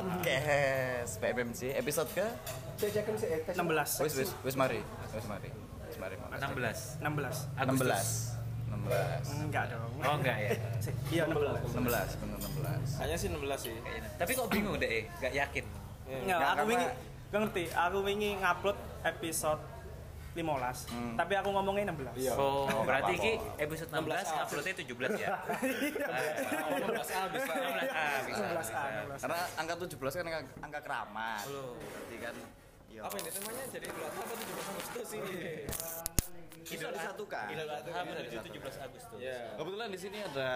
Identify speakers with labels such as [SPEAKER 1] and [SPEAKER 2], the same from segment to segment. [SPEAKER 1] Podcast PMMC episode ke
[SPEAKER 2] Cecakan sih, eh, tes.
[SPEAKER 3] 16
[SPEAKER 1] wis wis wis mari. Wis mari. Wis mari. Mas.
[SPEAKER 3] 16
[SPEAKER 4] 16 Agustus
[SPEAKER 1] 16. 16.
[SPEAKER 3] enggak dong
[SPEAKER 4] Oh enggak ya
[SPEAKER 3] Sih, iya 16
[SPEAKER 1] 16 benar 16.
[SPEAKER 2] Hanya sih 16 sih.
[SPEAKER 4] Kayaknya. Tapi kok bingung deh Enggak yakin
[SPEAKER 3] Nggak,
[SPEAKER 1] Nggak,
[SPEAKER 3] aku
[SPEAKER 1] karena-
[SPEAKER 3] wingi gak ngerti aku wingi ngupload episode 15 tapi aku ngomongnya 16
[SPEAKER 2] Iya.
[SPEAKER 4] Oh,
[SPEAKER 1] Oh,
[SPEAKER 4] berarti
[SPEAKER 1] nggak
[SPEAKER 4] ki
[SPEAKER 1] apa-apa.
[SPEAKER 4] episode 16 uploadnya 17
[SPEAKER 1] Iya.
[SPEAKER 4] ya. Ah,
[SPEAKER 2] 16A bisa.
[SPEAKER 4] 16A Ah, bisa.
[SPEAKER 3] 16A, 16A.
[SPEAKER 1] Karena angka 17 kan angka, angka keramat. Berarti kan yo.
[SPEAKER 2] Apa ini temanya? Jadi 12 apa 17 Agustus sih?
[SPEAKER 1] Bisa disatukan.
[SPEAKER 4] Idul Adha berarti 17 Agustus.
[SPEAKER 2] Iya.
[SPEAKER 1] Kebetulan di sini ada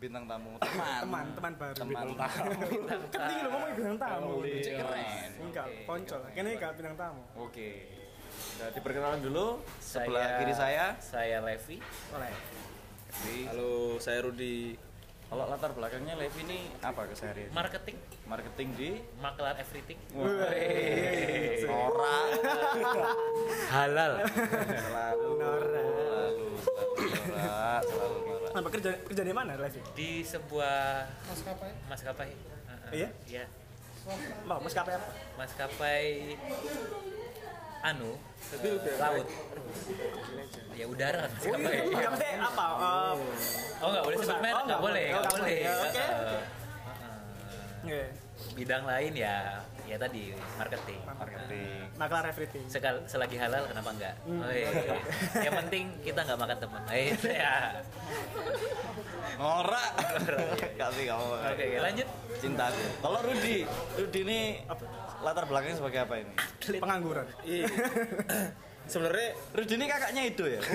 [SPEAKER 1] bintang tamu teman.
[SPEAKER 3] teman teman baru
[SPEAKER 1] Iya. Teman.
[SPEAKER 3] kan tinggi lo ngomongin bintang tamu
[SPEAKER 1] Cek keren.
[SPEAKER 3] enggak poncol kayaknya enggak bintang tamu
[SPEAKER 1] Oke.
[SPEAKER 2] Nah, diperkenalan dulu.
[SPEAKER 1] Sebelah kiri saya.
[SPEAKER 4] Saya Levi.
[SPEAKER 3] oleh
[SPEAKER 1] Jadi,
[SPEAKER 2] Halo, saya Rudi.
[SPEAKER 1] Kalau latar belakangnya Levi ini apa keseharian?
[SPEAKER 4] Marketing,
[SPEAKER 1] Marketing di
[SPEAKER 4] maklar everything.
[SPEAKER 1] Ora.
[SPEAKER 4] Halal.
[SPEAKER 1] Selalu
[SPEAKER 3] Nora
[SPEAKER 1] selalu selalu ora, selalu ora.
[SPEAKER 3] apa kerja kerja di mana Levi
[SPEAKER 4] Di sebuah maskapai. Heeh.
[SPEAKER 3] Iya?
[SPEAKER 4] Iya.
[SPEAKER 3] mau maskapai apa
[SPEAKER 4] Maskapai anu
[SPEAKER 2] Tapi udah
[SPEAKER 4] laut. Ya udara kan maskapai.
[SPEAKER 3] enggak mesti apa eh,
[SPEAKER 4] Oh enggak boleh sebut
[SPEAKER 3] Perusahaan.
[SPEAKER 4] merek,
[SPEAKER 3] Oh,
[SPEAKER 4] enggak
[SPEAKER 3] nggak
[SPEAKER 4] boleh,
[SPEAKER 3] boleh.
[SPEAKER 4] enggak
[SPEAKER 3] Oh,
[SPEAKER 4] boleh.
[SPEAKER 3] nggak boleh.
[SPEAKER 4] Heeh.
[SPEAKER 3] Oke, oke. iya.
[SPEAKER 4] Bidang lain ya ya tadi marketing.
[SPEAKER 1] Marketing.
[SPEAKER 3] maklar everything
[SPEAKER 4] Sekal, selagi halal kenapa enggak? Oh, iya. Yang penting kita enggak makan teman. Eh, itu ya.
[SPEAKER 1] Ora. Kasih kamu.
[SPEAKER 4] Oke, oke, lanjut.
[SPEAKER 1] Cintaku. Kalau Rudi, Rudi ini latar belakangnya sebagai apa ini?
[SPEAKER 3] pengangguran
[SPEAKER 2] Iya. Sebenarnya
[SPEAKER 1] Rudi ini kakaknya Ido
[SPEAKER 2] Iya.
[SPEAKER 1] ya?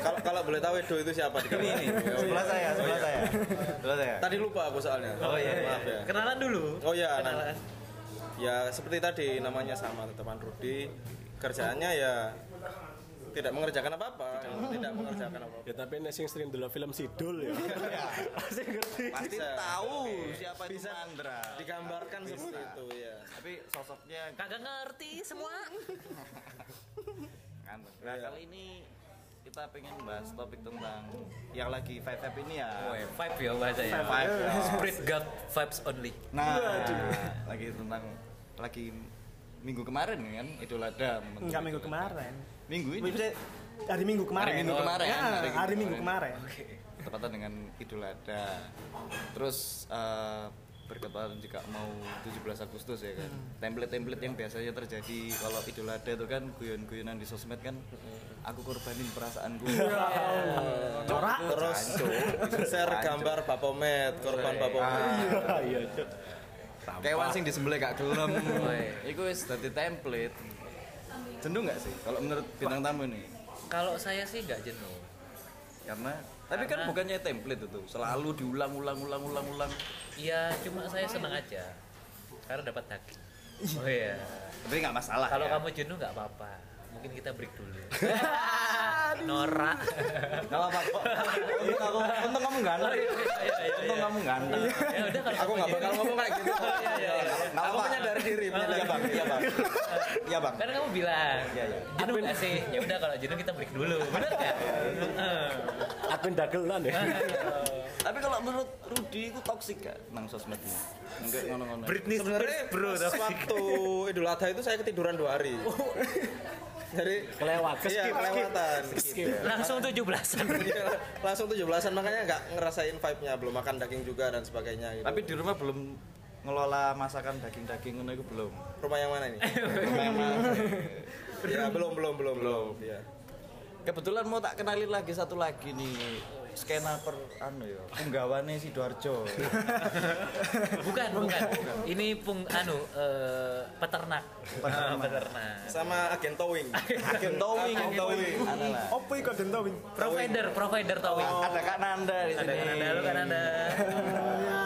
[SPEAKER 2] kalau kalau boleh tahu Edo itu siapa di Oh, iya.
[SPEAKER 1] Ini, ini. Sebelah saya, sebelah saya. Sebelah saya.
[SPEAKER 2] Tadi lupa aku soalnya.
[SPEAKER 1] Oh, iya, iya.
[SPEAKER 2] Maaf ya.
[SPEAKER 4] Kenalan dulu.
[SPEAKER 2] Oh iya,
[SPEAKER 4] kenalan.
[SPEAKER 2] Ya seperti tadi namanya sama teman Rudi. Kerjaannya ya tidak mengerjakan apa-apa. Tidak mengerjakan apa-apa.
[SPEAKER 5] Ya tapi nek sing sering dulu film Sidul ya. Pasti ngerti.
[SPEAKER 1] Pasti
[SPEAKER 2] Bisa.
[SPEAKER 1] tahu siapa itu
[SPEAKER 2] Bisa.
[SPEAKER 1] Mandra.
[SPEAKER 2] Digambarkan seperti itu ya.
[SPEAKER 1] Tapi sosoknya kan?
[SPEAKER 4] Kagak ngerti semua.
[SPEAKER 1] nganteng. Nah,
[SPEAKER 2] Iya.
[SPEAKER 1] kali ini kita pengen bahas topik tentang yang lagi five five ini ya.
[SPEAKER 2] Oh,
[SPEAKER 4] Woi,
[SPEAKER 2] iya.
[SPEAKER 4] vibe ya bahasanya.
[SPEAKER 1] Vibe ya.
[SPEAKER 4] Spirit God vibes only.
[SPEAKER 1] Nah, lagi tentang lagi minggu kemarin kan Idul Adha. momentum
[SPEAKER 3] enggak
[SPEAKER 1] Idul
[SPEAKER 3] minggu
[SPEAKER 1] Adha.
[SPEAKER 3] kemarin
[SPEAKER 1] Minggu ini
[SPEAKER 3] Maksudnya hari minggu kemarin
[SPEAKER 1] Hari Minggu kemarin.
[SPEAKER 3] Ya,
[SPEAKER 1] Hari Minggu
[SPEAKER 3] hari minggu
[SPEAKER 1] kemarin.
[SPEAKER 3] kemarin
[SPEAKER 1] bertepatan dengan Idul Adha. Terus eh, bertepatan juga mau 17 Agustus ya kan. Template-template yang biasanya terjadi kalau Idul Adha itu kan guyon-guyonan di sosmed kan aku korbanin perasaanku.
[SPEAKER 3] Ora.
[SPEAKER 2] Terus share gambar Bapomet, korban Bapomet.
[SPEAKER 1] Ah.
[SPEAKER 5] Iya, Cok.
[SPEAKER 1] kewan sing disembelih gak gelem.
[SPEAKER 4] Woi.
[SPEAKER 1] Iku wis dadi template. Jenuh gak sih kalau menurut bintang tamu nih?
[SPEAKER 4] Kalau saya sih enggak jenuh.
[SPEAKER 1] Karena tapi kan
[SPEAKER 4] Karena-
[SPEAKER 1] bukannya template itu selalu diulang-ulang-ulang-ulang-ulang.
[SPEAKER 4] Iya, cuma saya senang aja. Karena dapat daging. Oh iya.
[SPEAKER 1] Tapi nggak masalah.
[SPEAKER 4] Kalau
[SPEAKER 1] ya.
[SPEAKER 4] kamu jenuh nggak apa-apa. Mungkin kita break dulu. Nora.
[SPEAKER 1] Gak apa-apa kok. Untung aku, untung kamu ganteng. Untung kamu ganteng.
[SPEAKER 4] Ya udah kalau
[SPEAKER 2] Aku
[SPEAKER 4] kamu
[SPEAKER 2] nggak
[SPEAKER 4] jenuh.
[SPEAKER 2] bakal ngomong kayak gitu.
[SPEAKER 4] Iya, iya, iya.
[SPEAKER 1] Gak
[SPEAKER 2] Aku
[SPEAKER 1] apa-apa.
[SPEAKER 2] menyadari diri.
[SPEAKER 1] Iya bang, iya bang. Iya bang.
[SPEAKER 4] Karena kamu bilang,
[SPEAKER 1] Iya, iya.
[SPEAKER 4] jenuh nggak sih? Ya udah kalau jenuh kita break dulu. Benar nggak? Heeh.
[SPEAKER 5] Admin dagelan ya.
[SPEAKER 1] Tapi kalau menurut Rudi itu toksik gak nang sosmed ini? Enggak ngono-ngono.
[SPEAKER 4] Britney
[SPEAKER 2] Sebenarnya bro, Oh. waktu Idul Adha itu saya ketiduran dua hari. Jadi
[SPEAKER 5] Kelewat,
[SPEAKER 2] iya,
[SPEAKER 5] keskip,
[SPEAKER 2] kelewatan.
[SPEAKER 5] skip.
[SPEAKER 4] langsung 17
[SPEAKER 2] Iya, langsung 17-an makanya nggak ngerasain vibe-nya, belum makan daging juga dan sebagainya gitu.
[SPEAKER 1] Tapi di rumah belum ngelola masakan daging-daging ngono itu belum.
[SPEAKER 2] rumah yang mana ini? rumah yang mana? ya, belum belum belum belum. Iya.
[SPEAKER 1] Kebetulan mau tak kenalin lagi satu lagi nih skena per anu ya penggawane Sidoarjo.
[SPEAKER 4] bukan bukan ini pung anu eh, peternak
[SPEAKER 1] Peternak.
[SPEAKER 4] Ah, peternak
[SPEAKER 2] Sama agen towing.
[SPEAKER 1] Agen towing, agen towing. Adalah.
[SPEAKER 3] opo iku dentawin
[SPEAKER 4] provider provider ya. towing
[SPEAKER 1] Ada Kak Nanda di
[SPEAKER 4] Oh, ada
[SPEAKER 1] sini.
[SPEAKER 4] kan anda lu kan anda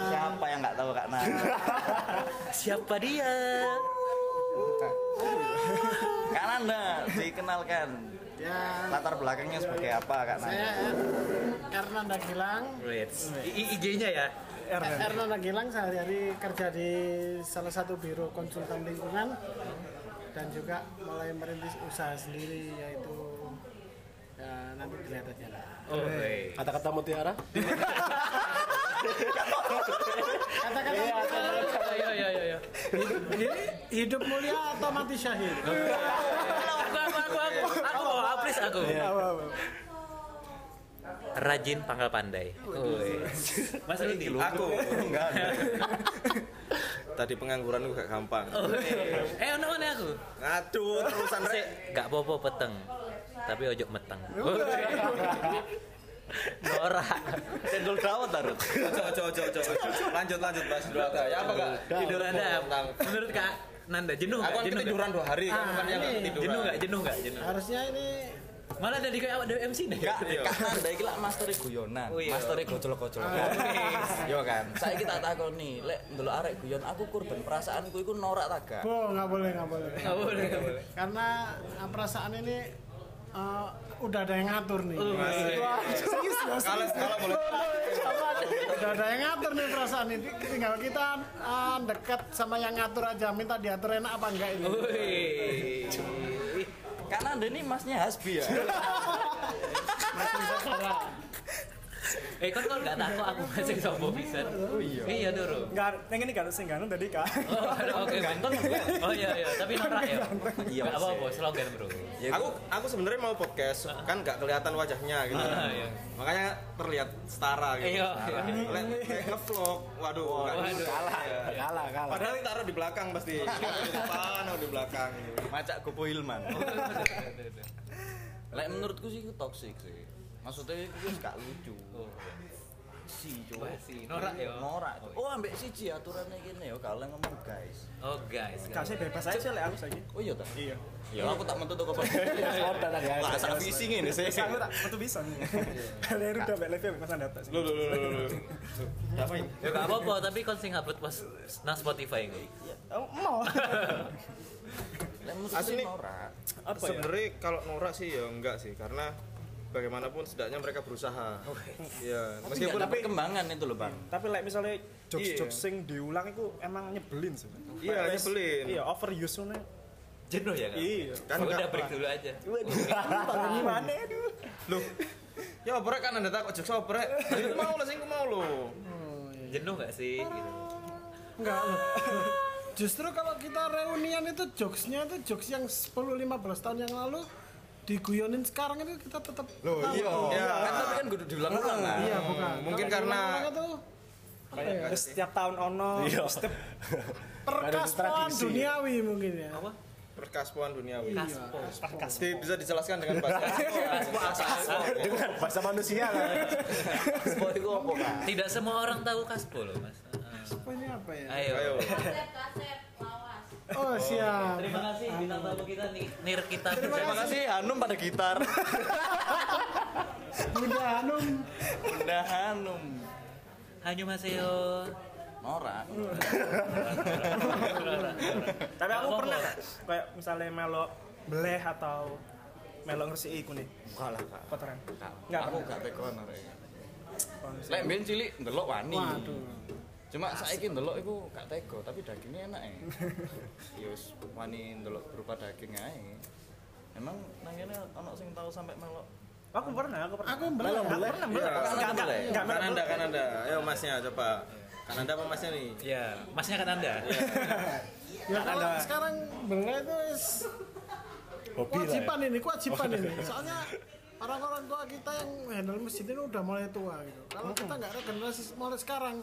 [SPEAKER 1] Siapa yang nggak tahu Kak Nanda?
[SPEAKER 4] siapa dia
[SPEAKER 1] Kak Nanda, dikenalkan. Latar belakangnya sebagai apa Kak Nanda?
[SPEAKER 6] Karena anda Gilang,
[SPEAKER 4] IG-nya ya
[SPEAKER 6] karena anda Gilang sehari-hari kerja di salah satu biro konsultan lingkungan dan juga mulai merintis usaha sendiri yaitu ya, nanti dilihat aja lah.
[SPEAKER 4] oh, woi.
[SPEAKER 5] Kata-kata mutiara.
[SPEAKER 6] Katakan apa? Jadi hidup mulia atau mati syahid.
[SPEAKER 4] aku aku aku aku aku mau hapus aku rajin pangkal pandai
[SPEAKER 3] Mas Rudi.
[SPEAKER 2] Aku enggak. Tadi pengangguran gue gak gampang.
[SPEAKER 4] eh ono ono aku
[SPEAKER 2] Aduh, terusan
[SPEAKER 4] Sik,
[SPEAKER 2] rek.
[SPEAKER 4] gak popo peteng tapi ojo meteng norak
[SPEAKER 1] Cendol dawet tarut.
[SPEAKER 2] Ojo, ojo, ojo, ojo. Lanjut, lanjut, bahas dulu ada. Ya apa enggak?
[SPEAKER 4] tidur anda
[SPEAKER 2] Tentang.
[SPEAKER 4] menurut kak Nanda jenuh
[SPEAKER 2] Aku
[SPEAKER 4] gak
[SPEAKER 2] kan
[SPEAKER 4] jenuh
[SPEAKER 2] ketiduran
[SPEAKER 4] gak?
[SPEAKER 2] dua hari, kan bukannya
[SPEAKER 4] iya.
[SPEAKER 2] gak ketiduran.
[SPEAKER 4] jenuh gak jenuh gak jenuh
[SPEAKER 6] Harusnya ini
[SPEAKER 4] malah dari kayak awak dari MC nih
[SPEAKER 1] Kak, Kak Nanda iki lak mastere guyonan,
[SPEAKER 4] Oh, iya.
[SPEAKER 1] mastere gocol-gocol. Yo kan. Saiki tak takoni, lek ndelok arek guyon aku kurban perasaanku iku norak ta gak?
[SPEAKER 6] Bo, Oh, nggak boleh, nggak boleh.
[SPEAKER 4] Gak boleh gak boleh
[SPEAKER 6] Karena eh, perasaan ini eh, udah ada yang ngatur nih. Wah, serius, loh,
[SPEAKER 2] Kalau
[SPEAKER 6] serius.
[SPEAKER 2] kalau boleh
[SPEAKER 6] Udah ada yang ngatur nih perasaan ini. Tinggal kita eh, dekat sama yang ngatur aja. Minta diatur enak apa enggak ini.
[SPEAKER 4] Wih.
[SPEAKER 1] Kak Nanda ini masnya Hasbi ya.
[SPEAKER 4] eh kan kalau gak takut aku masih sopo bisa
[SPEAKER 6] Oh
[SPEAKER 4] iya iya turu
[SPEAKER 3] Enggak, yang ini kan singgahan tadi kak.
[SPEAKER 4] Oh, oke ganteng oh iya iya tapi norak ya
[SPEAKER 1] Iya,
[SPEAKER 4] gak
[SPEAKER 1] Mas.
[SPEAKER 4] apa-apa slogan bro
[SPEAKER 2] aku aku sebenarnya mau podcast kan nggak kelihatan wajahnya gitu
[SPEAKER 4] Ah, iya.
[SPEAKER 2] makanya terlihat setara gitu
[SPEAKER 4] Iya,
[SPEAKER 2] setara.
[SPEAKER 4] iya.
[SPEAKER 2] Lek- lek ngevlog waduh nggak bisa. Iya.
[SPEAKER 5] kalah kalah
[SPEAKER 2] padahal taruh di belakang pasti Iya, di depan atau di belakang gitu.
[SPEAKER 1] Macak Gopo Ilman. Lek menurutku sih itu toxic sih. Maksudnya itu wis gak lucu. Si coba
[SPEAKER 4] Wah, si. Norak ya?
[SPEAKER 1] Norak. Oh, ambek siji aturannya gini ya, kalau ngomong guys.
[SPEAKER 4] oh guys guys.
[SPEAKER 3] Kasih bebas aja sih, lek aku saiki.
[SPEAKER 1] Oh iya ta? Iya. Ya aku tak metu toko kopi.
[SPEAKER 5] Order tadi, ya.
[SPEAKER 1] Lah sak visi ngene sih. Iya,
[SPEAKER 3] Aku tak metu bisa nih. Leru udah balik lebih mas anda tak.
[SPEAKER 2] Loh, loh, loh, loh, loh. Ngapain?
[SPEAKER 4] Ya gak apa-apa, tapi kon sing upload pas nang Spotify gue.
[SPEAKER 3] Oh, Mau.
[SPEAKER 1] Lek menurutku sih
[SPEAKER 2] Asli.
[SPEAKER 1] norak.
[SPEAKER 3] Apa ya?
[SPEAKER 2] sebenarnya kalau norak sih ya enggak sih karena bagaimanapun setidaknya mereka berusaha ya
[SPEAKER 1] Meskipun
[SPEAKER 2] meskipun
[SPEAKER 1] tapi kembangan itu loh, Bang.
[SPEAKER 3] Tapi like misalnya jokes-jokes
[SPEAKER 2] Iya.
[SPEAKER 3] sing diulang itu emang nyebelin sih.
[SPEAKER 2] Iya,
[SPEAKER 3] Like, wes-
[SPEAKER 2] nyebelin.
[SPEAKER 3] Iya, overuse nih.
[SPEAKER 4] Jenuh ya kan?
[SPEAKER 3] Iya.
[SPEAKER 2] kan
[SPEAKER 4] Udah
[SPEAKER 2] nggak-
[SPEAKER 4] break dulu aja.
[SPEAKER 3] Waduh, gimana aduh.
[SPEAKER 2] loh ya oprek kan anda takut jokes oprek itu mau lah sih aku mau loh
[SPEAKER 4] Jenuh gak sih? Gitu.
[SPEAKER 6] Enggak. loh. Justru kalau kita reunian itu jokesnya itu jokes yang 10-15 tahun yang lalu diguyonin sekarang itu kita tetap loh
[SPEAKER 2] iya.
[SPEAKER 1] Kan tapi kan kudu diulang-ulang lah.
[SPEAKER 6] iya bukan
[SPEAKER 2] mungkin
[SPEAKER 6] Kalau
[SPEAKER 2] karena-
[SPEAKER 6] diulang-ulang itu, apa ya?
[SPEAKER 3] Terus setiap tahun ono, setiap
[SPEAKER 6] perkaspoan
[SPEAKER 5] tradisi.
[SPEAKER 6] duniawi mungkin ya
[SPEAKER 2] perkaspoan duniawi Iya.
[SPEAKER 4] Kaspo.
[SPEAKER 2] Di- bisa dijelaskan dengan bahasa
[SPEAKER 5] dengan bahasa manusia lah
[SPEAKER 1] Sepo iku opo, Kak?
[SPEAKER 4] Tidak semua orang tahu Kaspo loh, Mas.
[SPEAKER 6] apa ini apa ya
[SPEAKER 4] Ayo.
[SPEAKER 2] ayo
[SPEAKER 7] Kasep, kasep, lawas.
[SPEAKER 6] oh siap
[SPEAKER 4] Terima kasih bintang tamu kita nih, Nir kita.
[SPEAKER 1] Terima kasih Hanum pada gitar.
[SPEAKER 6] Bunda Hanum
[SPEAKER 1] Bunda Hanum.
[SPEAKER 4] Hanyu Maseo.
[SPEAKER 1] Norak.
[SPEAKER 3] Tapi aku
[SPEAKER 4] Apa-apa.
[SPEAKER 3] pernah kayak misalnya melo bleh atau melo ngersi iku nih
[SPEAKER 1] Kalah, Kak.
[SPEAKER 3] kotoran. Enggak
[SPEAKER 1] Aku
[SPEAKER 3] pernah.
[SPEAKER 1] gak tekan arek. ya. Lek mbiyen cilik ndelok wani. Cuma saiki ndelok iku gak tega, tapi dagingnya enak e. Ya wis wani ndelok berupa daging ae. Emang nang kene ono sing tau sampe melok.
[SPEAKER 3] Aku pernah, aku pernah.
[SPEAKER 6] aku belum
[SPEAKER 3] Aku pernah bleh. Enggak, enggak,
[SPEAKER 1] Bleh.
[SPEAKER 3] enggak,
[SPEAKER 2] kan anda
[SPEAKER 3] enggak.
[SPEAKER 2] kan anda ayo masnya coba kan anda apa masnya nih
[SPEAKER 4] Ya, masnya kan Anda.
[SPEAKER 6] ya kalau sekarang bener itu is
[SPEAKER 5] hobi lah ya. iya.
[SPEAKER 6] kewajiban ini kewajiban ini soalnya orang-orang tua kita yang handle masjid ini udah mulai tua gitu kalau
[SPEAKER 5] Hmm.
[SPEAKER 6] kita nggak regenerasi mulai sekarang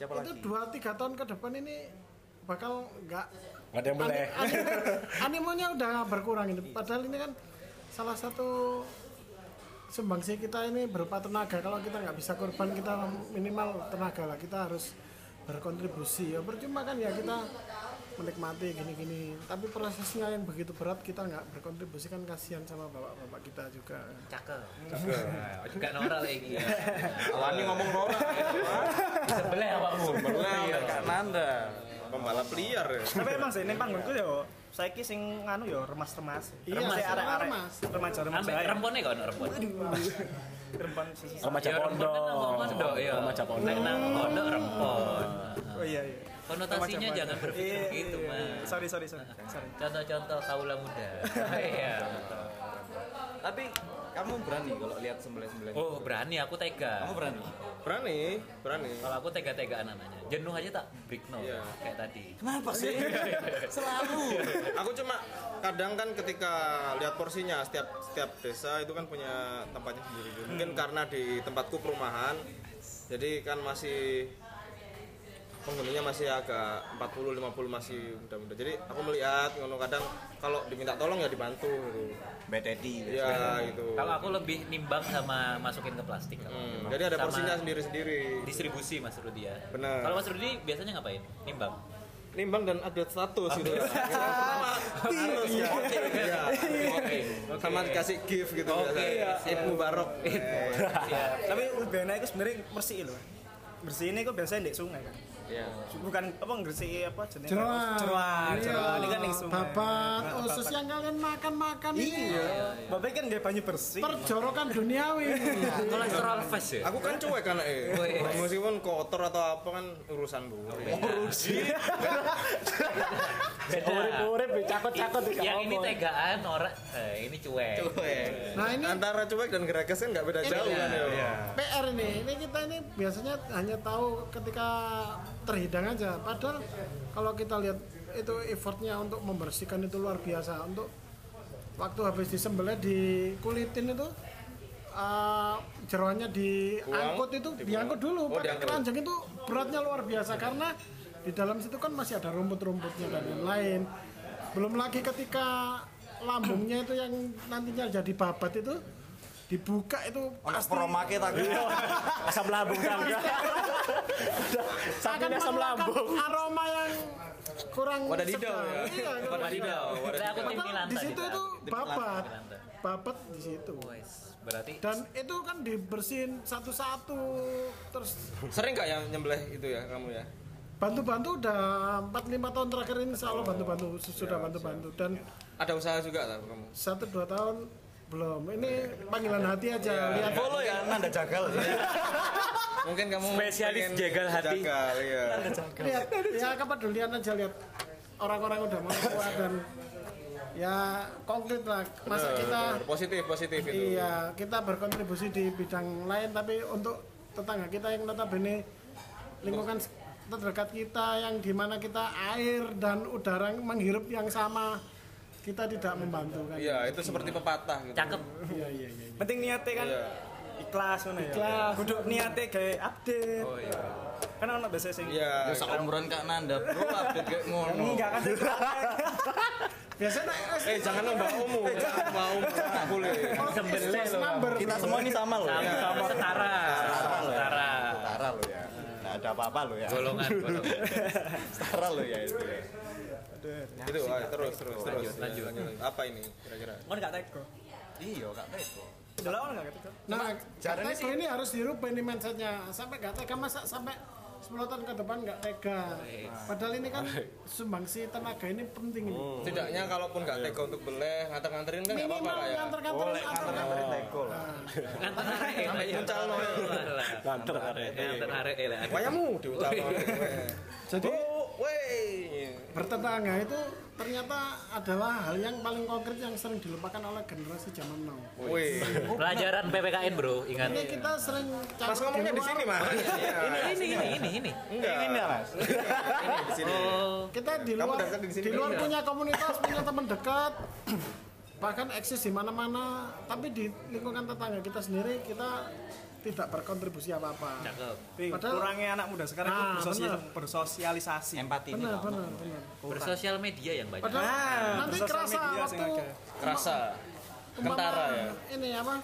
[SPEAKER 2] siapa
[SPEAKER 6] itu
[SPEAKER 2] lagi
[SPEAKER 6] dua tiga tahun ke depan ini bakal nggak
[SPEAKER 5] nggak ada yang boleh
[SPEAKER 6] ani- ani- animonya udah berkurang ini padahal ini kan salah satu sumbangsi kita ini berupa tenaga kalau kita nggak bisa korban kita minimal tenaga lah kita harus berkontribusi ya percuma kan ya kita menikmati gini-gini tapi prosesnya yang begitu berat kita nggak berkontribusi kan kasihan sama bapak-bapak kita juga
[SPEAKER 4] Cakep. Juga norak lagi.
[SPEAKER 2] wani ngomong norak
[SPEAKER 4] Sebelah awakmu.
[SPEAKER 2] Sebelah,
[SPEAKER 4] Iya.
[SPEAKER 2] Kak Nanda pembalap liar ya.
[SPEAKER 3] Tapi emang sih ini panggungku ya saiki sing nganu ya remas-remas.
[SPEAKER 6] Iya,
[SPEAKER 3] Remas ya
[SPEAKER 6] remas.
[SPEAKER 3] arek-arek remaja-remaja.
[SPEAKER 4] Ambek
[SPEAKER 3] ae.
[SPEAKER 4] rempone kok ono rempone.
[SPEAKER 3] Rempon sisi.
[SPEAKER 5] remaja
[SPEAKER 4] Ya, rempon kan nang
[SPEAKER 5] pondok
[SPEAKER 4] pondok ya.
[SPEAKER 5] remaja pondok
[SPEAKER 4] Nek nang pondok rempon.
[SPEAKER 3] Oh iya iya.
[SPEAKER 4] Konotasinya
[SPEAKER 3] Remaja-remaja.
[SPEAKER 4] jangan berpikir
[SPEAKER 3] Iya,
[SPEAKER 4] begitu,
[SPEAKER 3] iya, iya.
[SPEAKER 4] Gitu, Mas.
[SPEAKER 3] Sorry sorry sorry. Sorry.
[SPEAKER 4] Contoh-contoh kaula muda. Iya.
[SPEAKER 1] Tapi kamu berani kalau lihat sembelih-sembelih.
[SPEAKER 4] Oh berani aku tega.
[SPEAKER 1] Kamu berani?
[SPEAKER 2] berani berani
[SPEAKER 4] Kalau aku tega-tegaan anaknya. Jenuh aja tak break no
[SPEAKER 2] Iya.
[SPEAKER 4] kayak tadi.
[SPEAKER 1] Kenapa sih? Selalu.
[SPEAKER 2] aku cuma kadang kan ketika lihat porsinya setiap setiap desa itu kan punya tempatnya sendiri mungkin karena di tempatku perumahan jadi kan masih penghuninya masih agak 40 50 masih muda-muda jadi aku melihat ngono kadang kalau diminta tolong ya dibantu gitu
[SPEAKER 1] Mbak Teddy.
[SPEAKER 2] ya gitu
[SPEAKER 4] Kalau aku lebih nimbang sama masukin ke plastik. kalau aku.
[SPEAKER 2] Hmm, jadi ada
[SPEAKER 4] Sama
[SPEAKER 2] porsinya sendiri-sendiri
[SPEAKER 4] Distribusi Mas Rudi ya.
[SPEAKER 2] Benar.
[SPEAKER 4] Kalau Mas Rudi biasanya ngapain? Nimbang.
[SPEAKER 2] nimbang dan update status gitu Sama, harus ya Iya. sama dikasih gift gitu
[SPEAKER 4] Oke,
[SPEAKER 2] biasanya. Eid Mubarak
[SPEAKER 3] Tapi lebih enak itu sebenarnya bersih loh. Bersih ini kok biasanya di sungai kan.
[SPEAKER 1] Iya.
[SPEAKER 3] Bukan apa ngersih apa jenenge.
[SPEAKER 6] Jeruan,
[SPEAKER 3] Jeruan,
[SPEAKER 6] Iya.
[SPEAKER 3] jeruan. Ini kan di sungai.
[SPEAKER 6] babat,
[SPEAKER 3] Nah,
[SPEAKER 6] usus
[SPEAKER 3] babat.
[SPEAKER 6] yang kalian makan-makan ini
[SPEAKER 5] Iya.
[SPEAKER 3] Bapak kan nggak banyu bersih.
[SPEAKER 6] perjorokan duniawi.
[SPEAKER 5] Iya.
[SPEAKER 4] Kolesterol fast ya.
[SPEAKER 2] Aku kan cuek kan eh.
[SPEAKER 4] Oh, iya.
[SPEAKER 2] Meskipun kotor atau apa kan urusan bu.
[SPEAKER 5] Urip-urip ya, dicakot-cakot dikawal.
[SPEAKER 4] Yang ini tegaan orang, eh, ini cuek.
[SPEAKER 2] Cuek.
[SPEAKER 6] Nah ini
[SPEAKER 2] Iya.
[SPEAKER 5] Kan
[SPEAKER 2] Antara cuek dan geragas kan nggak beda jauh kan ya.
[SPEAKER 6] PR nih, ini kita ini biasanya hanya tahu ketika terhidang aja. Padahal kalau kita lihat itu effortnya untuk membersihkan itu luar biasa. Untuk waktu habis disembelih dikulitin itu eh, jeroannya diangkut itu diangkut dulu pakai keranjang itu beratnya luar biasa karena di dalam situ kan masih ada rumput-rumputnya dan lain-lain. Belum lagi ketika lambungnya itu yang nantinya jadi babat itu dibuka itu
[SPEAKER 1] Anak promake tak.
[SPEAKER 5] Asam lambung tangga. Sampai
[SPEAKER 6] akan
[SPEAKER 5] asam
[SPEAKER 6] mengeluarkan
[SPEAKER 5] lambung.
[SPEAKER 6] aroma yang kurang
[SPEAKER 2] Wadah didau
[SPEAKER 6] sedap.
[SPEAKER 2] ya.
[SPEAKER 6] Iya, kurang
[SPEAKER 2] Wadah didau. wadah
[SPEAKER 4] Saya aku
[SPEAKER 2] didau.
[SPEAKER 4] tim
[SPEAKER 6] Padahal
[SPEAKER 4] Milanta
[SPEAKER 6] di situ
[SPEAKER 4] kita,
[SPEAKER 6] itu
[SPEAKER 4] aku tim
[SPEAKER 6] babat,
[SPEAKER 4] Milanta.
[SPEAKER 6] babat di situ.
[SPEAKER 4] Wes, Berarti
[SPEAKER 6] Dan itu kan dibersihin satu-satu, terus
[SPEAKER 2] Sering nggak yang nyembelih itu ya kamu ya?
[SPEAKER 6] bantu-bantu udah 4-5 tahun terakhir ini selalu bantu-bantu, sudah bantu-bantu. Dan
[SPEAKER 2] Ada usaha juga lah kamu.
[SPEAKER 6] satu dua tahun belum. Ini panggilan hati
[SPEAKER 2] Iya.
[SPEAKER 6] aja. Lihat
[SPEAKER 1] Follow ya, Nanda jagal.
[SPEAKER 2] Mungkin kamu pengen
[SPEAKER 5] Spesialis jagal hati.
[SPEAKER 2] Jagal iya.
[SPEAKER 6] lihat ya kepedulian aja lihat orang-orang udah mau keluar dan ya konkret lah masa
[SPEAKER 2] Benar,
[SPEAKER 6] kita
[SPEAKER 2] Positif positif itu.
[SPEAKER 6] Iya, kita berkontribusi di bidang lain tapi untuk tetangga kita yang notabene lingkungan s- terdekat kita yang dimana kita air dan udara menghirup yang sama kita tidak membantu kan.
[SPEAKER 2] Iya itu seperti pepatah gitu.
[SPEAKER 4] cakep.
[SPEAKER 6] Iya, iya, iya.
[SPEAKER 3] Penting niatnya kan ikhlas ngono ya.
[SPEAKER 6] Ikhlas.
[SPEAKER 3] Kudu niatnya kayak update. Oh iya. Kan ono biasa sing
[SPEAKER 2] Iya.
[SPEAKER 1] Ya seumuran Kak Nanda, bro update kayak ngono.
[SPEAKER 3] enggak kan sing
[SPEAKER 6] Biasanya eh,
[SPEAKER 2] Eh jangan lomba umum, jangan lomba umum nggak boleh.
[SPEAKER 6] sales number.
[SPEAKER 1] Kita semua ini sama loh.
[SPEAKER 4] Sama,
[SPEAKER 1] ya.
[SPEAKER 4] Iya. setara, setara,
[SPEAKER 1] Setara loh ya. Nggak ada apa-apa loh ya.
[SPEAKER 4] golongan, golongan.
[SPEAKER 1] Setara loh ya itu. ya.
[SPEAKER 2] Itu Gitu, ayo, terus terus terus.
[SPEAKER 4] lanjut.
[SPEAKER 2] Apa ini kira-kira?
[SPEAKER 3] Kon gak tega.
[SPEAKER 1] Iya, Kak Teko.
[SPEAKER 3] Delok ono gak tega.
[SPEAKER 6] Nah, caranya sih ini harus dirubah ini mindsetnya sampai gak tega masa sampai 10 tahun ke depan gak tega. Padahal ini kan sumbangsi tenaga ini penting ini.
[SPEAKER 2] Tidaknya kalaupun nggak tega untuk beleh, nganter-nganterin kan Hmm. nggak apa-apa
[SPEAKER 6] Minimal
[SPEAKER 2] lah ya.
[SPEAKER 6] nganter-nganterin antar-antar.
[SPEAKER 4] Oh.
[SPEAKER 1] Teko lah.
[SPEAKER 4] Nganter arek ya, Pak, ya. Alah,
[SPEAKER 5] Nganter arek.
[SPEAKER 4] Nganter arek ya, lah.
[SPEAKER 2] Wayamu diucap.
[SPEAKER 6] Jadi
[SPEAKER 2] Oh, wey.
[SPEAKER 6] bertetangga itu ternyata adalah hal yang paling konkret yang sering dilupakan oleh generasi zaman now.
[SPEAKER 2] Wey.
[SPEAKER 4] Pelajaran PPKN bro, ingat.
[SPEAKER 6] Ini kita sering
[SPEAKER 2] Iya. Mas
[SPEAKER 6] cakap
[SPEAKER 2] ngomongnya di
[SPEAKER 6] luar,
[SPEAKER 2] sini, Mas.
[SPEAKER 4] Ini, ini, ini, ini, ini.
[SPEAKER 2] Enggak. Ini Mas. di sini.
[SPEAKER 1] Oh.
[SPEAKER 4] Oh,
[SPEAKER 6] Kita di luar
[SPEAKER 2] datang di sini
[SPEAKER 6] di luar
[SPEAKER 2] kan?
[SPEAKER 6] punya komunitas, punya teman dekat. Bahkan eksis di mana-mana, tapi di lingkungan tetangga kita sendiri kita tidak berkontribusi apa-apa.
[SPEAKER 4] Cakep.
[SPEAKER 6] Padahal-
[SPEAKER 3] kurangnya anak muda sekarang
[SPEAKER 6] Ah,
[SPEAKER 3] itu bersosial,
[SPEAKER 6] bener.
[SPEAKER 3] bersosialisasi.
[SPEAKER 1] Empati ini.
[SPEAKER 6] Benar, benar, benar.
[SPEAKER 4] Bersosial media yang banyak.
[SPEAKER 6] Padahal
[SPEAKER 3] Nah,
[SPEAKER 6] nanti
[SPEAKER 3] sosial
[SPEAKER 6] kerasa
[SPEAKER 3] media sih
[SPEAKER 6] waktu
[SPEAKER 3] nggak ada.
[SPEAKER 2] Kerasa.
[SPEAKER 6] umpama
[SPEAKER 2] Kentara ya?
[SPEAKER 6] Ini apa?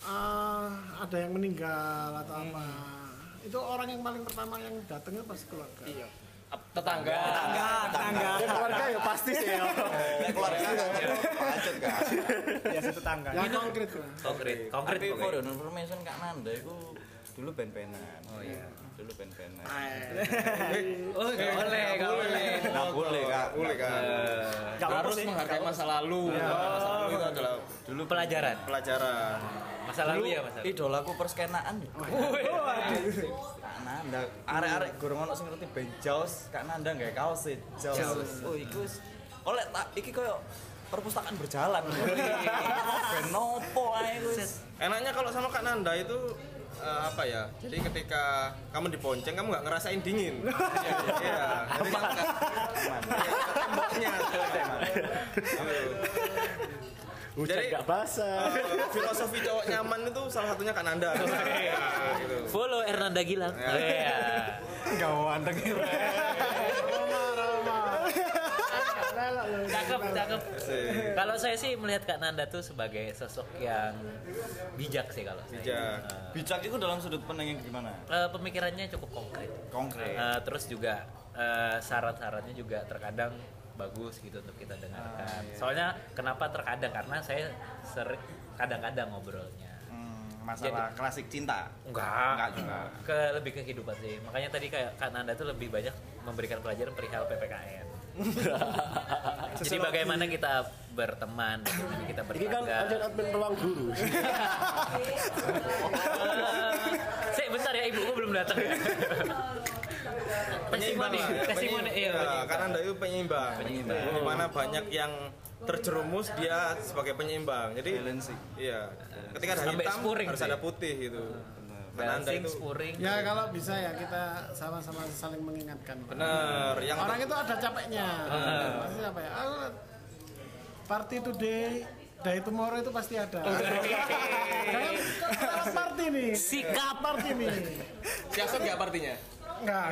[SPEAKER 6] eh, ada yang meninggal atau
[SPEAKER 2] Hmm.
[SPEAKER 6] apa? Itu orang yang paling pertama yang datangnya pasti keluarga. Iya.
[SPEAKER 2] Tetangga.
[SPEAKER 3] Enggak, tetangga.
[SPEAKER 5] Keluarga ya pasti sih ya.
[SPEAKER 1] Keluarga
[SPEAKER 8] Iya.
[SPEAKER 1] kan. Lanjut Kak.
[SPEAKER 3] Ya si tetangga.
[SPEAKER 6] Yang konkret lah.
[SPEAKER 4] Konkret, konkret
[SPEAKER 1] Tapi for
[SPEAKER 4] pokoknya.
[SPEAKER 1] your information Kak Nanda itu dulu ben-benan. Oh iya. Dulu ben-benan.
[SPEAKER 4] Oh, nggak boleh, nggak boleh.
[SPEAKER 1] Nggak boleh Kak.
[SPEAKER 2] Boleh kan?
[SPEAKER 3] Nggak apa-apa
[SPEAKER 2] Harus
[SPEAKER 3] sih.
[SPEAKER 2] menghargai masa lalu.
[SPEAKER 1] Iya.
[SPEAKER 2] Masa lalu itu adalah
[SPEAKER 4] Dulu pelajaran.
[SPEAKER 2] pelajaran.
[SPEAKER 4] Masa lalu ya, masa lalu.
[SPEAKER 1] Idolaku perskenaan. Kak Nanda, arek-arek gorong ono sing ngerti ben jaos, Kak Nanda nggae kaos e. Jaos. Oh, iku s- oleh tak iki koyo perpustakaan berjalan. Ben nopo ae wis.
[SPEAKER 2] Enaknya kalau sama Kak Nanda itu eh, apa ya? Jadi ketika kamu dibonceng kamu nggak ngerasain dingin. Iya. Iya. Jadi kamu nggak- iya, ke temboknya, ke tembok. Gitu.
[SPEAKER 5] Hujan
[SPEAKER 2] Jadi-
[SPEAKER 5] nggak basah.
[SPEAKER 2] Eh, filosofi cowok nyaman itu salah satunya Kak Nanda. Iya, gitu.
[SPEAKER 4] Follow Ernanda Gilang. Oh, iya.
[SPEAKER 1] Gawanteng
[SPEAKER 4] Cakep, cakep.
[SPEAKER 2] Asik.
[SPEAKER 4] Kalau saya sih melihat Kak Nanda tuh sebagai sosok yang bijak sih kalau saya.
[SPEAKER 2] Bijak.
[SPEAKER 1] Bijak itu dalam sudut pandang yang gimana?
[SPEAKER 4] Eh, pemikirannya cukup konkret.
[SPEAKER 1] Konkret.
[SPEAKER 4] Eh, terus juga eh, syarat-syaratnya juga terkadang bagus gitu untuk kita dengarkan.
[SPEAKER 2] Ah, iya.
[SPEAKER 4] Soalnya kenapa terkadang karena saya sering kadang-kadang ngobrolnya.
[SPEAKER 1] Hmm, masalah klasik cinta.
[SPEAKER 4] Enggak.
[SPEAKER 1] Enggak juga.
[SPEAKER 4] Ke lebih ke kehidupan sih. Makanya tadi kayak Kak Nanda tuh lebih banyak memberikan pelajaran perihal PPKN. Jadi bagaimana kita berteman, bagaimana kita
[SPEAKER 5] Ini kan
[SPEAKER 4] bertangga.
[SPEAKER 5] ada admin ruang guru.
[SPEAKER 4] Sik, bentar ya ibuku belum datang.
[SPEAKER 2] Penyeimbang
[SPEAKER 4] testimoni,
[SPEAKER 2] lah ya,
[SPEAKER 4] testimoni.
[SPEAKER 2] penyeimbang.
[SPEAKER 4] Iya,
[SPEAKER 2] Iya,
[SPEAKER 4] penyeimbang.
[SPEAKER 2] Kak Nanda itu penyeimbang.
[SPEAKER 4] Penyeimbang.
[SPEAKER 2] Di mana banyak yang terjerumus dia sebagai penyeimbang. Jadi
[SPEAKER 1] Balancing.
[SPEAKER 2] Iya. Ketika ada
[SPEAKER 4] Sampai
[SPEAKER 2] hitam
[SPEAKER 4] spuring
[SPEAKER 2] harus
[SPEAKER 4] sih. Nah,
[SPEAKER 2] ada putih gitu. Kananda
[SPEAKER 4] Balancing,
[SPEAKER 2] itu
[SPEAKER 4] spuring.
[SPEAKER 6] ya kalau bisa ya kita sama-sama saling mengingatkan
[SPEAKER 2] benar. Yang
[SPEAKER 6] orang itu ada capeknya pasti apa ya Ah, party today day tomorrow itu pasti ada jangan kelewat party nih
[SPEAKER 4] Sikap.
[SPEAKER 6] party nih
[SPEAKER 2] siasat nggak partinya?
[SPEAKER 6] enggak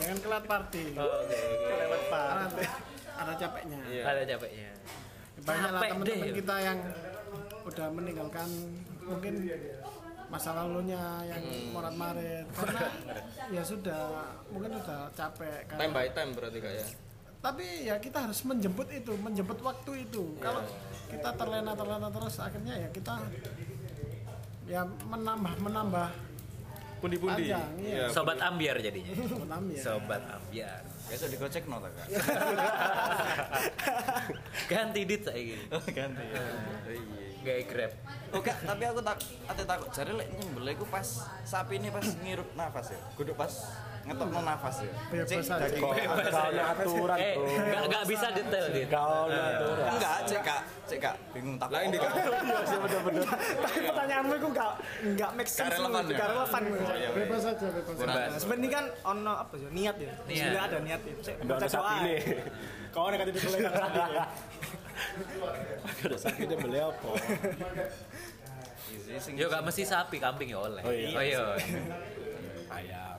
[SPEAKER 6] jangan kelewat party
[SPEAKER 4] Oke, oke.
[SPEAKER 6] Karena ada capeknya
[SPEAKER 2] Iya.
[SPEAKER 4] Ada capeknya.
[SPEAKER 6] banyak lah
[SPEAKER 4] Capek
[SPEAKER 6] teman-teman
[SPEAKER 4] deh.
[SPEAKER 6] kita yang udah meninggalkan mungkin masa lalunya yang morat marit karena ya sudah mungkin sudah capek karena-
[SPEAKER 2] Time by time berarti kak ya.
[SPEAKER 6] tapi ya kita harus menjemput itu menjemput waktu itu kalau kita terlena terlena terus akhirnya ya kita ya menambah menambah
[SPEAKER 2] Pundi-pundi.
[SPEAKER 6] Panjang, iya.
[SPEAKER 2] Iya.
[SPEAKER 4] Sobat ambiar jadinya.
[SPEAKER 6] enam ya
[SPEAKER 4] Sobat ambiar.
[SPEAKER 1] Besok digocek no ta, Kak?
[SPEAKER 4] Iya. Ganti dit saya gini.
[SPEAKER 1] Ganti. ya.
[SPEAKER 4] Gaya grab.
[SPEAKER 1] Oh Kak, tapi aku tak ate takut jare lek nyembelih iku pas sapi ini pas ngirup nafas ya. Kudu pas ngetokno nafas ya.
[SPEAKER 6] Bebas
[SPEAKER 1] Cek
[SPEAKER 6] aja.
[SPEAKER 1] daging.
[SPEAKER 5] Kalau aturan
[SPEAKER 4] Eh,
[SPEAKER 5] bro.
[SPEAKER 4] nggak nggak bisa detail dit.
[SPEAKER 5] Kalau aturan.
[SPEAKER 1] Enggak, cek Kak. Cek Kak, bingung tak.
[SPEAKER 2] Lah ini kak.
[SPEAKER 8] Tapi pertanyaanmu itu nggak nggak make sense.
[SPEAKER 1] Nggak relevan
[SPEAKER 8] loh,
[SPEAKER 1] ya?
[SPEAKER 8] nggak relevan.
[SPEAKER 6] bebas saja bebas saja.
[SPEAKER 8] Nah, Sebenarnya kan ono apa sih niat ya. Sebenarnya ada niat ya. Cek,
[SPEAKER 5] Nggak
[SPEAKER 8] baca
[SPEAKER 5] ada sapi
[SPEAKER 8] doa.
[SPEAKER 5] nih.
[SPEAKER 8] Kau ada kata ditulis
[SPEAKER 5] ya. Nggak ada sapi dia beli apa?
[SPEAKER 4] Yo gak mesti sapi, kambing ya oleh.
[SPEAKER 5] Oh, iya.
[SPEAKER 4] Oh iya.
[SPEAKER 5] Ayam.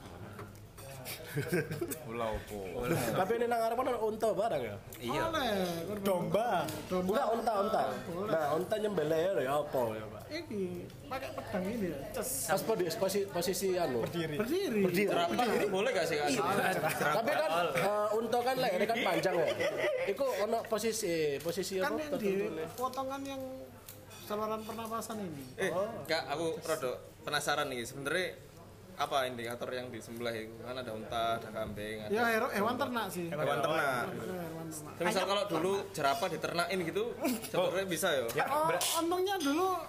[SPEAKER 1] Ulah opo?
[SPEAKER 5] Tapi ini nang arepan ada unta barang ya.
[SPEAKER 4] Iya.
[SPEAKER 6] Boleh, kurban.
[SPEAKER 5] Domba.
[SPEAKER 6] Domba.
[SPEAKER 5] Enggak unta unta. Nah unta nyembelih ya lho, ya apa ya pak?
[SPEAKER 6] ini pakai pedang ini ya Ces.
[SPEAKER 5] Pas podi- posisi posisi anu. Berdiri.
[SPEAKER 6] berdiri
[SPEAKER 5] Berdiri.
[SPEAKER 2] Apa? Boleh gak sih kak?
[SPEAKER 4] Iya.
[SPEAKER 5] Tapi kan eh, unta kan lehernya kan panjang ya. Iku ono posisi posisi
[SPEAKER 6] kan
[SPEAKER 5] apa
[SPEAKER 6] yang di
[SPEAKER 5] tertentu nih.
[SPEAKER 6] potongan yang saluran pernapasan ini
[SPEAKER 2] Eh, kak aku rada penasaran nih sebenarnya apa indikator yang di sebelah itu kan ada unta, ada kambing, ada
[SPEAKER 6] ya hero- hewan ternak sih
[SPEAKER 2] hewan ternak.
[SPEAKER 6] hewan ternak
[SPEAKER 2] Misal kalau dulu jerapah diternakin gitu, sebenarnya bisa yo.
[SPEAKER 6] Oh, untungnya dulu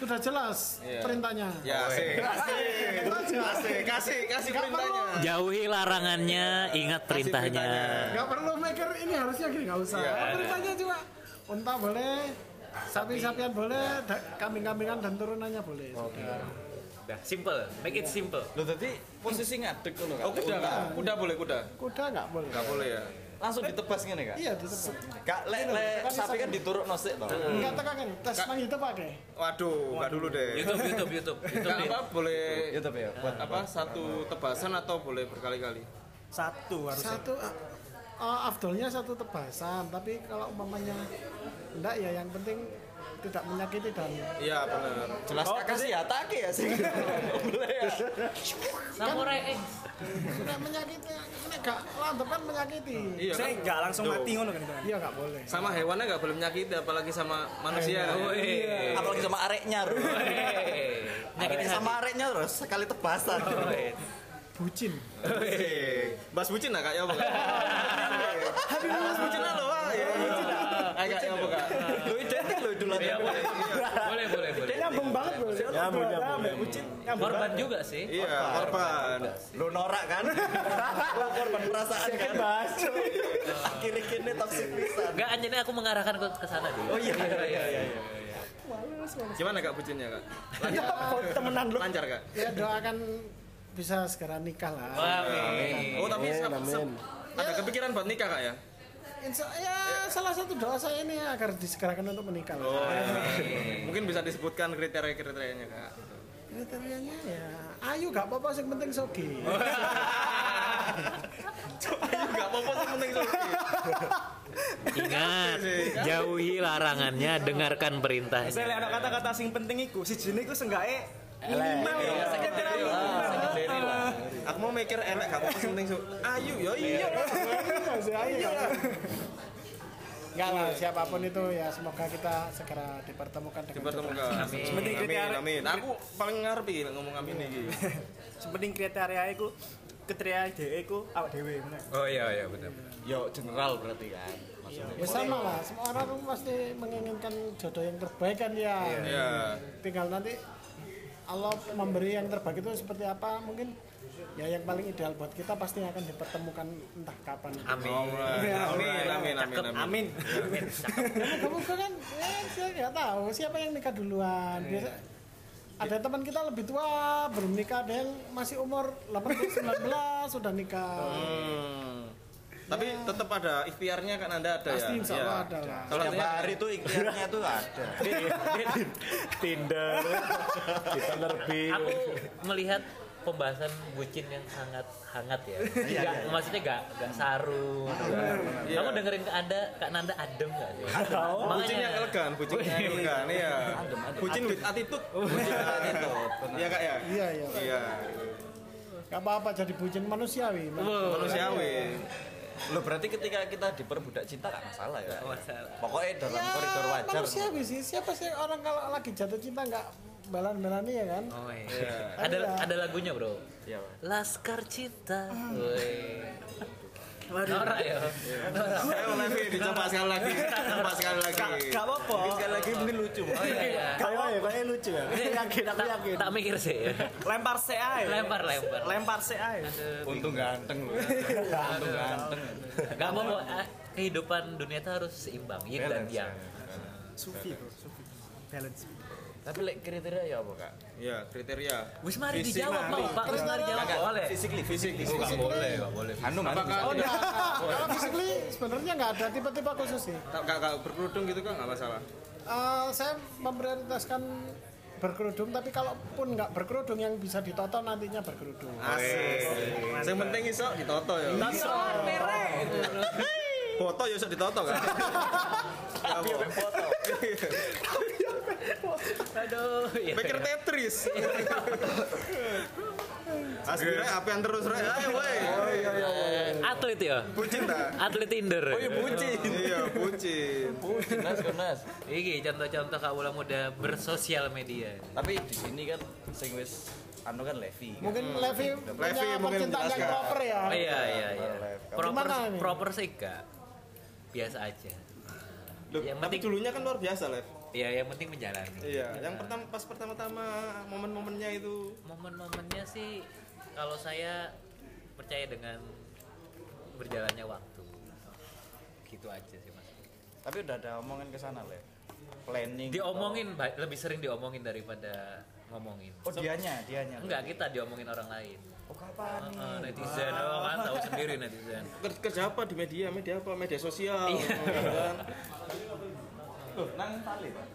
[SPEAKER 6] sudah jelas
[SPEAKER 2] Iya.
[SPEAKER 6] perintahnya.
[SPEAKER 2] Ya, asik. Asik. Asik. Kasih, kasih
[SPEAKER 6] Nggak
[SPEAKER 2] perintahnya.
[SPEAKER 4] Jauhi larangannya, ingat perintahnya.
[SPEAKER 6] Gak perlu mikir ini harusnya gini, gak usah.
[SPEAKER 2] Iya.
[SPEAKER 6] Perintahnya cuma unta boleh, sapi-sapian boleh, da- kambing-kambingan dan turunannya boleh.
[SPEAKER 4] Dah, simple. Make it simple.
[SPEAKER 1] Loh tadi posisi ngadeg ngono Kak.
[SPEAKER 2] Oh, kuda,
[SPEAKER 1] Unta.
[SPEAKER 2] Kak. kuda boleh kuda.
[SPEAKER 6] Kuda nggak boleh.
[SPEAKER 2] Gak boleh ya.
[SPEAKER 1] Langsung ditebas ngene Kak.
[SPEAKER 6] Iya, ditebak.
[SPEAKER 1] Kak, lek lek sapi kan dituruk nosik to.
[SPEAKER 2] Hmm.
[SPEAKER 6] Enggak tekan tes nang ditebak deh.
[SPEAKER 2] Waduh, gak dulu deh.
[SPEAKER 4] YouTube, YouTube, YouTube. YouTube
[SPEAKER 2] Gak
[SPEAKER 4] dit.
[SPEAKER 2] apa boleh
[SPEAKER 1] Ya tapi ya buat
[SPEAKER 2] apa satu tebasan atau boleh berkali-kali.
[SPEAKER 8] Satu harusnya.
[SPEAKER 6] Satu eh, afdolnya satu tebasan, tapi kalau umpamanya enggak ya yang penting tidak menyakiti dan
[SPEAKER 2] Iya, benar.
[SPEAKER 1] jelas Kakak sih ya take ya sih. Boleh ya.
[SPEAKER 4] Samurai X.
[SPEAKER 6] sudah menyakiti, ini gak landep kan menyakiti.
[SPEAKER 2] Iya.
[SPEAKER 8] Saya
[SPEAKER 2] kan?
[SPEAKER 8] nggak langsung
[SPEAKER 2] Tuh.
[SPEAKER 8] mati ngono kan itu kan.
[SPEAKER 6] Iya nggak boleh.
[SPEAKER 2] Sama hewannya nggak boleh menyakiti apalagi sama manusia. kan?
[SPEAKER 1] Apalagi sama areknya, Bro.
[SPEAKER 4] Hey. Nyakitin hati.
[SPEAKER 1] Nah, sama areknya terus sekali tebasan.
[SPEAKER 6] Bucin.
[SPEAKER 2] Hei, Mas Bucin lah kak ya apa kak? Habis Mas Bucin lah lo wah. Iya, Bucin lah. Ayo kak ya apa kak?
[SPEAKER 1] Lu identik lo dulu.
[SPEAKER 4] Iya, boleh. Boleh, boleh, boleh.
[SPEAKER 8] Nyambung banget bro.
[SPEAKER 6] nyambung nyambung kucing nyambung
[SPEAKER 4] Korban
[SPEAKER 6] banget.
[SPEAKER 4] juga sih.
[SPEAKER 2] Iya, korban.
[SPEAKER 1] Lu norak kan? Lu korban perasaan kan?
[SPEAKER 6] bahas
[SPEAKER 1] Kiri-kiri toxic pisan.
[SPEAKER 4] Enggak, anjirnya aku mengarahkan ke ke sana dulu.
[SPEAKER 1] Oh iya iya iya iya. iya.
[SPEAKER 2] Gimana kak bucinnya kak?
[SPEAKER 8] temenan lu
[SPEAKER 2] Lancar kak?
[SPEAKER 6] ya doakan bisa segera nikah lah
[SPEAKER 4] Wah, amin.
[SPEAKER 2] Oh tapi
[SPEAKER 5] Amin,
[SPEAKER 2] sep-
[SPEAKER 5] amin.
[SPEAKER 2] sep- ada kepikiran buat nikah kak ya?
[SPEAKER 6] Insya, ya salah satu doa saya ini agar disegerakan untuk menikah lah.
[SPEAKER 2] Mungkin bisa disebutkan kriteria-kriterianya kak.
[SPEAKER 6] kriterianya ya ayu gak apa-apa yang penting sogi
[SPEAKER 2] Gak apa-apa sih penting sogi.
[SPEAKER 4] Ingat, jauhi larangannya, dengarkan perintahnya.
[SPEAKER 3] Saya lihat ada kata-kata sing penting iku, si jene iku seenggaknya minimal ya. Sekretariat minimal.
[SPEAKER 4] Sekretari lah.
[SPEAKER 2] Aku mau mikir elek gak apa-apa sih penting sogi. Ayu, yo iya.
[SPEAKER 6] Masih ayu Enggak lah, siapapun itu ya semoga kita segera dipertemukan dengan
[SPEAKER 2] Dipertemukan.
[SPEAKER 6] jodoh.
[SPEAKER 2] Amin.
[SPEAKER 3] Sementing
[SPEAKER 2] Amin,
[SPEAKER 3] kriteria-
[SPEAKER 2] amin. Aku paling ngarepi ngomong amin nih.
[SPEAKER 3] Sepenting kriteria iku kriteria dhewe iku awak dhewe ngono.
[SPEAKER 4] Oh iya iya benar.
[SPEAKER 1] Yo general berarti kan. Maksudnya.
[SPEAKER 6] Ya sama lah, semua orang tuh pasti menginginkan jodoh yang terbaik kan ya.
[SPEAKER 2] Iya.
[SPEAKER 6] Tinggal nanti Allah memberi yang terbaik itu seperti apa mungkin ya yang paling ideal buat kita pasti akan dipertemukan entah kapan.
[SPEAKER 4] Amin.
[SPEAKER 2] Alright. Amin, amin, amin, amin.
[SPEAKER 4] Amin. Amin.
[SPEAKER 6] Moga-moga kan, ya, saya nggak tahu siapa yang nikah duluan. Biasa, ada teman kita lebih tua belum nikah, ada yang masih umur 18-19 sudah nikah.
[SPEAKER 2] Hmm. Tapi tetap ada ikhtiarnya kan Anda ada ya.
[SPEAKER 6] Pasti insya Allah
[SPEAKER 2] Iya.
[SPEAKER 6] ada lah.
[SPEAKER 2] Salah
[SPEAKER 1] Setiap
[SPEAKER 2] satunya
[SPEAKER 1] hari tuh ikhtiarnya tuh ada.
[SPEAKER 5] Tinder, kita nerbit.
[SPEAKER 4] Aku melihat pembahasan bucin yang sangat hangat ya. Gak, maksudnya gak, gak sarung. Kamu dengerin ke Anda, Kak Nanda adem gak sih?
[SPEAKER 2] bucin yang elegan, bucin yang elegan iya. Bucin with attitude. Bucin with
[SPEAKER 1] gitu.
[SPEAKER 2] attitude. Iya Kak ya?
[SPEAKER 6] Iya iya.
[SPEAKER 2] Iya.
[SPEAKER 6] Gak apa-apa jadi bucin manusiawi.
[SPEAKER 2] Manusiawi.
[SPEAKER 1] Lo berarti ketika kita diperbudak cinta gak masalah ya? Pokoknya dalam
[SPEAKER 6] Ya,
[SPEAKER 1] koridor wajar.
[SPEAKER 6] manusiawi sih. Siapa sih orang kalau lagi jatuh cinta nggak belan-belani ya kan?
[SPEAKER 4] Oh, iya. Ada ada lagunya, Bro.
[SPEAKER 1] Iya, Pak.
[SPEAKER 4] Laskar Cinta. Woi. Norak ya.
[SPEAKER 2] Ayo Levi dicoba sekali lagi. Coba sekali lagi.
[SPEAKER 3] Gak apa-apa.
[SPEAKER 2] Mungkin sekali lagi mungkin lucu.
[SPEAKER 4] Oh iya iya.
[SPEAKER 8] kayak ya kayak lucu ya yakin aku
[SPEAKER 4] Tak,
[SPEAKER 8] yakin
[SPEAKER 4] tak mikir sih.
[SPEAKER 1] Iya.
[SPEAKER 3] Lempar se ae.
[SPEAKER 4] Lempar lempar.
[SPEAKER 3] Lempar se ae.
[SPEAKER 1] Untung ganteng lo. Untung ganteng.
[SPEAKER 4] Gak mau eh, kehidupan dunia itu harus seimbang, yin dan
[SPEAKER 1] Balance,
[SPEAKER 4] yang.
[SPEAKER 3] Sufi bro, sufi. Balance.
[SPEAKER 1] Tapi like, kriteria ya apa kak?
[SPEAKER 2] Iya, kriteria.
[SPEAKER 4] Wis mari
[SPEAKER 2] Visi,
[SPEAKER 4] dijawab
[SPEAKER 2] mari.
[SPEAKER 4] mau Pak Wismar jawab boleh.
[SPEAKER 1] Physically, physically. Oh, gak boleh, gak boleh. Hanum, hanum.
[SPEAKER 6] Oh, enggak. kalau physically sebenarnya nggak ada tipe-tipe khusus sih.
[SPEAKER 2] Tak gak gak berkerudung gitu kan nggak masalah.
[SPEAKER 6] Eh, saya memprioritaskan berkerudung tapi kalaupun nggak berkerudung yang bisa ditoto nantinya berkerudung.
[SPEAKER 2] Ah. Asik. Yang penting iso ditoto ya. Iso merek. Foto ya iso ditoto kan. Tapi foto.
[SPEAKER 4] Aduh, iya.
[SPEAKER 2] Pikir Tetris. Aspirnya apa yang terus rek? Ayo woi.
[SPEAKER 4] Atlet ya.
[SPEAKER 2] Iya. Oh, Bucin ta?
[SPEAKER 4] Atlet Tinder. Oh iya,
[SPEAKER 2] Bucin. Iya, bucin.
[SPEAKER 1] Nas, nas.
[SPEAKER 4] Iki contoh-contoh kawula muda bersosial media.
[SPEAKER 1] Tapi di sini kan sing wis anu kan Levi. kan?
[SPEAKER 6] Mungkin Levi
[SPEAKER 2] Levi
[SPEAKER 6] punya
[SPEAKER 2] mungkin
[SPEAKER 6] percintaan yang
[SPEAKER 2] jelaskan.
[SPEAKER 6] proper ya.
[SPEAKER 4] Oh, iya iya iya. Proper
[SPEAKER 6] Gimana ini?
[SPEAKER 4] proper sih gak. Biasa aja.
[SPEAKER 2] Loh,
[SPEAKER 4] Yang
[SPEAKER 2] tapi
[SPEAKER 4] penting-
[SPEAKER 2] dulunya kan luar biasa, Lev.
[SPEAKER 4] Iya, yang penting menjalani.
[SPEAKER 2] Iya, yang pertama pas pertama-tama momen-momennya itu
[SPEAKER 4] Momen-momennya sih kalau saya percaya dengan berjalannya waktu. Gitu aja sih, Mas.
[SPEAKER 1] Tapi udah ada omongan ke sana, Lev. Planning.
[SPEAKER 4] Diomongin ba- lebih sering diomongin daripada ngomongin.
[SPEAKER 1] Oh, dianya, dianya.
[SPEAKER 4] Enggak, kita diomongin orang lain.
[SPEAKER 1] Oh, kapan?
[SPEAKER 4] Eh, netizen, oh, kan tahu sendiri netizen.
[SPEAKER 2] ker- kerja apa di media, media apa? Media sosial.
[SPEAKER 4] Iya.
[SPEAKER 2] kan.
[SPEAKER 1] Loh, nang tali, Pak.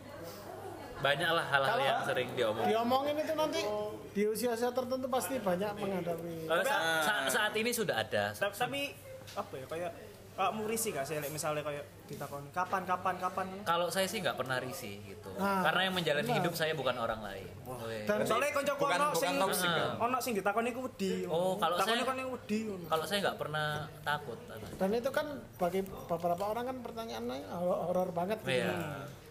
[SPEAKER 4] Banyaklah hal-hal yang sering diomongin.
[SPEAKER 6] Diomongin itu nanti di usia-usia tertentu pasti banyak menghadapi.
[SPEAKER 4] Eh, sa- sa- saat ini sudah ada.
[SPEAKER 3] Ta- Tapi apa ya kayak kayak murisi gak sih like, misalnya kayak ditakoni kapan kapan kapan
[SPEAKER 4] Kalau saya sih nggak pernah risih gitu.
[SPEAKER 6] Nah,
[SPEAKER 4] Karena yang menjalani hidup saya bukan orang lain. Weh.
[SPEAKER 6] Dan
[SPEAKER 3] soalnya kanca
[SPEAKER 1] Bukan
[SPEAKER 3] ono
[SPEAKER 1] bukan
[SPEAKER 3] sing
[SPEAKER 1] toxic kan.
[SPEAKER 3] ono sing ditakoni ku wedi
[SPEAKER 4] Oh, kalau
[SPEAKER 3] Ditakoni
[SPEAKER 4] saya-
[SPEAKER 3] kon yang wedi ngono.
[SPEAKER 4] Kalau saya nggak pernah takut. Ana.
[SPEAKER 6] dan itu kan bagi beberapa orang kan pertanyaannya horor horor banget gitu.
[SPEAKER 4] Iya.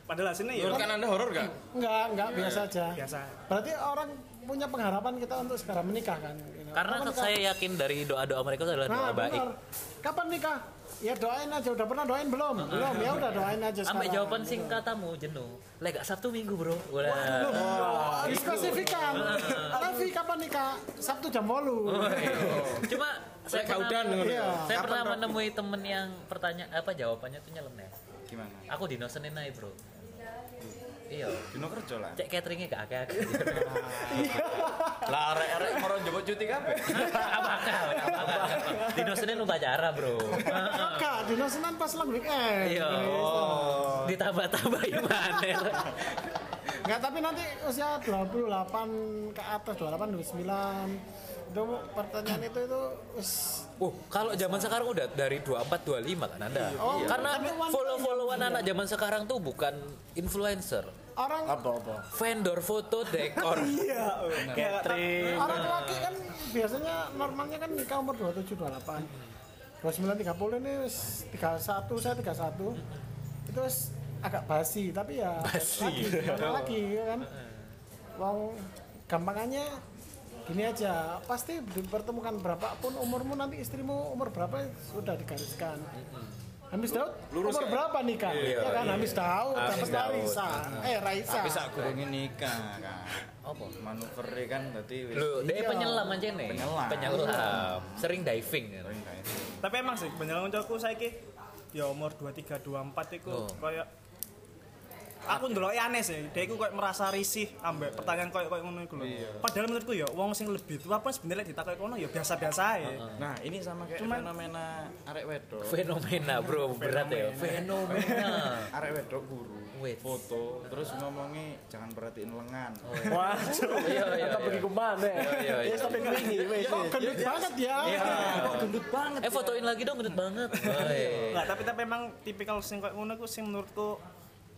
[SPEAKER 3] padahal hasilnya ya
[SPEAKER 2] Menurut kan Anda horor gak?
[SPEAKER 6] Enggak, enggak biasa aja.
[SPEAKER 3] biasa
[SPEAKER 6] Berarti orang punya pengharapan kita untuk segera menikah kan. you know.
[SPEAKER 4] Karena
[SPEAKER 6] Kapan nikah?
[SPEAKER 4] saya yakin dari doa-doa mereka itu adalah doa
[SPEAKER 6] Nah,
[SPEAKER 4] baik.
[SPEAKER 6] benar. Kapan nikah? Ya doain aja udah pernah doain belum? Belum. Ya udah doain aja
[SPEAKER 4] Sampai
[SPEAKER 6] sekarang.
[SPEAKER 4] jawaban singkatamu jenuh. Lega Sabtu Minggu, Bro. Wah. Gitu.
[SPEAKER 6] Wah, dispesifikan. Oh, Tapi kapan nikah? Sabtu jam
[SPEAKER 4] Oh, iya.
[SPEAKER 6] 8.
[SPEAKER 4] Cuma saya
[SPEAKER 2] Lek
[SPEAKER 4] pernah,
[SPEAKER 2] gaudan ngono.
[SPEAKER 6] Iya.
[SPEAKER 4] saya
[SPEAKER 2] Kapan
[SPEAKER 4] pernah
[SPEAKER 2] dong?
[SPEAKER 4] menemui temen yang pertanyaan apa jawabannya tuh nyeleneh.
[SPEAKER 1] Gimana?
[SPEAKER 4] Aku dinosenin aja, Bro. Iya.
[SPEAKER 1] Dino kerja lah.
[SPEAKER 4] Cek cateringnya gak akeh-akeh.
[SPEAKER 1] Lah arek-arek moro njupuk cuti kabeh.
[SPEAKER 4] Apa akal? Apa akal? Dinosenin lu pacara, Bro.
[SPEAKER 6] Kak, dino Senin pas Eh, long weekend.
[SPEAKER 4] Iya. Ditambah-tambahin maneh.
[SPEAKER 6] Enggak, tapi nanti usia 28 ke atas, 28, 29 itu pertanyaan itu itu us,
[SPEAKER 4] Oh, kalau zaman sekarang udah dari 24 25 kan Anda.
[SPEAKER 6] Oh, iya.
[SPEAKER 4] Karena
[SPEAKER 6] Tapi one-
[SPEAKER 4] follow-followan anak zaman sekarang tuh bukan influencer,
[SPEAKER 6] orang
[SPEAKER 5] apa apa
[SPEAKER 4] vendor foto dekor.
[SPEAKER 6] orang laki kan biasanya normalnya kan nikah umur 27 28 29 30 ini wis 31 saya 31 itu wis agak basi tapi ya basi lagi, lagi ya kan wong gampangannya gini aja pasti dipertemukan berapapun umurmu nanti istrimu umur berapa sudah digariskan Hamis Daud
[SPEAKER 2] Lurus
[SPEAKER 6] umur
[SPEAKER 2] ya?
[SPEAKER 6] berapa nikah ya kan Hamis Daud
[SPEAKER 4] Hamis
[SPEAKER 6] dapat
[SPEAKER 4] Daud.
[SPEAKER 6] Raisa eh Raisa
[SPEAKER 1] Tapi sak gurunge nikah kan.
[SPEAKER 4] Apa?
[SPEAKER 1] Manuver kan dadi wis
[SPEAKER 4] Lu, dia
[SPEAKER 6] Iya.
[SPEAKER 4] penyelam aja nih.
[SPEAKER 1] Penyelam.
[SPEAKER 4] Penyelam. Sering diving. kan?
[SPEAKER 1] Sering kayak gitu.
[SPEAKER 3] Tapi emang sih bener kancaku saiki ya umur 23 24 iku
[SPEAKER 4] Oh.
[SPEAKER 3] kayak aku ndeloki aneh sih, dia iku kayak merasa risih ambek pertanyaan kayak kayak ngono iku lho. Padahal menurutku ya wong sing lebih tua pun sebenarnya ditakoki kono ya biasa-biasa ae.
[SPEAKER 1] Nah, ini sama kayak
[SPEAKER 3] Cuman-
[SPEAKER 1] fenomena arek wedok.
[SPEAKER 4] Fenomena, bro. Berat ya. Fenomena.
[SPEAKER 1] Arek wedok guru.
[SPEAKER 4] Wait.
[SPEAKER 1] Foto terus ngomongnya jangan perhatiin lengan.
[SPEAKER 4] Iya, iya,
[SPEAKER 5] tetap
[SPEAKER 4] iya.
[SPEAKER 5] pergi kemana
[SPEAKER 4] iya, iya.
[SPEAKER 5] ya sampai ini wes
[SPEAKER 6] gendut banget ya
[SPEAKER 5] kok gendut banget
[SPEAKER 4] Eh, fotoin lagi dong, gendut banget. Woy.
[SPEAKER 3] Enggak, tapi tapi emang tipikal sing kayak ngono iku sing menurutku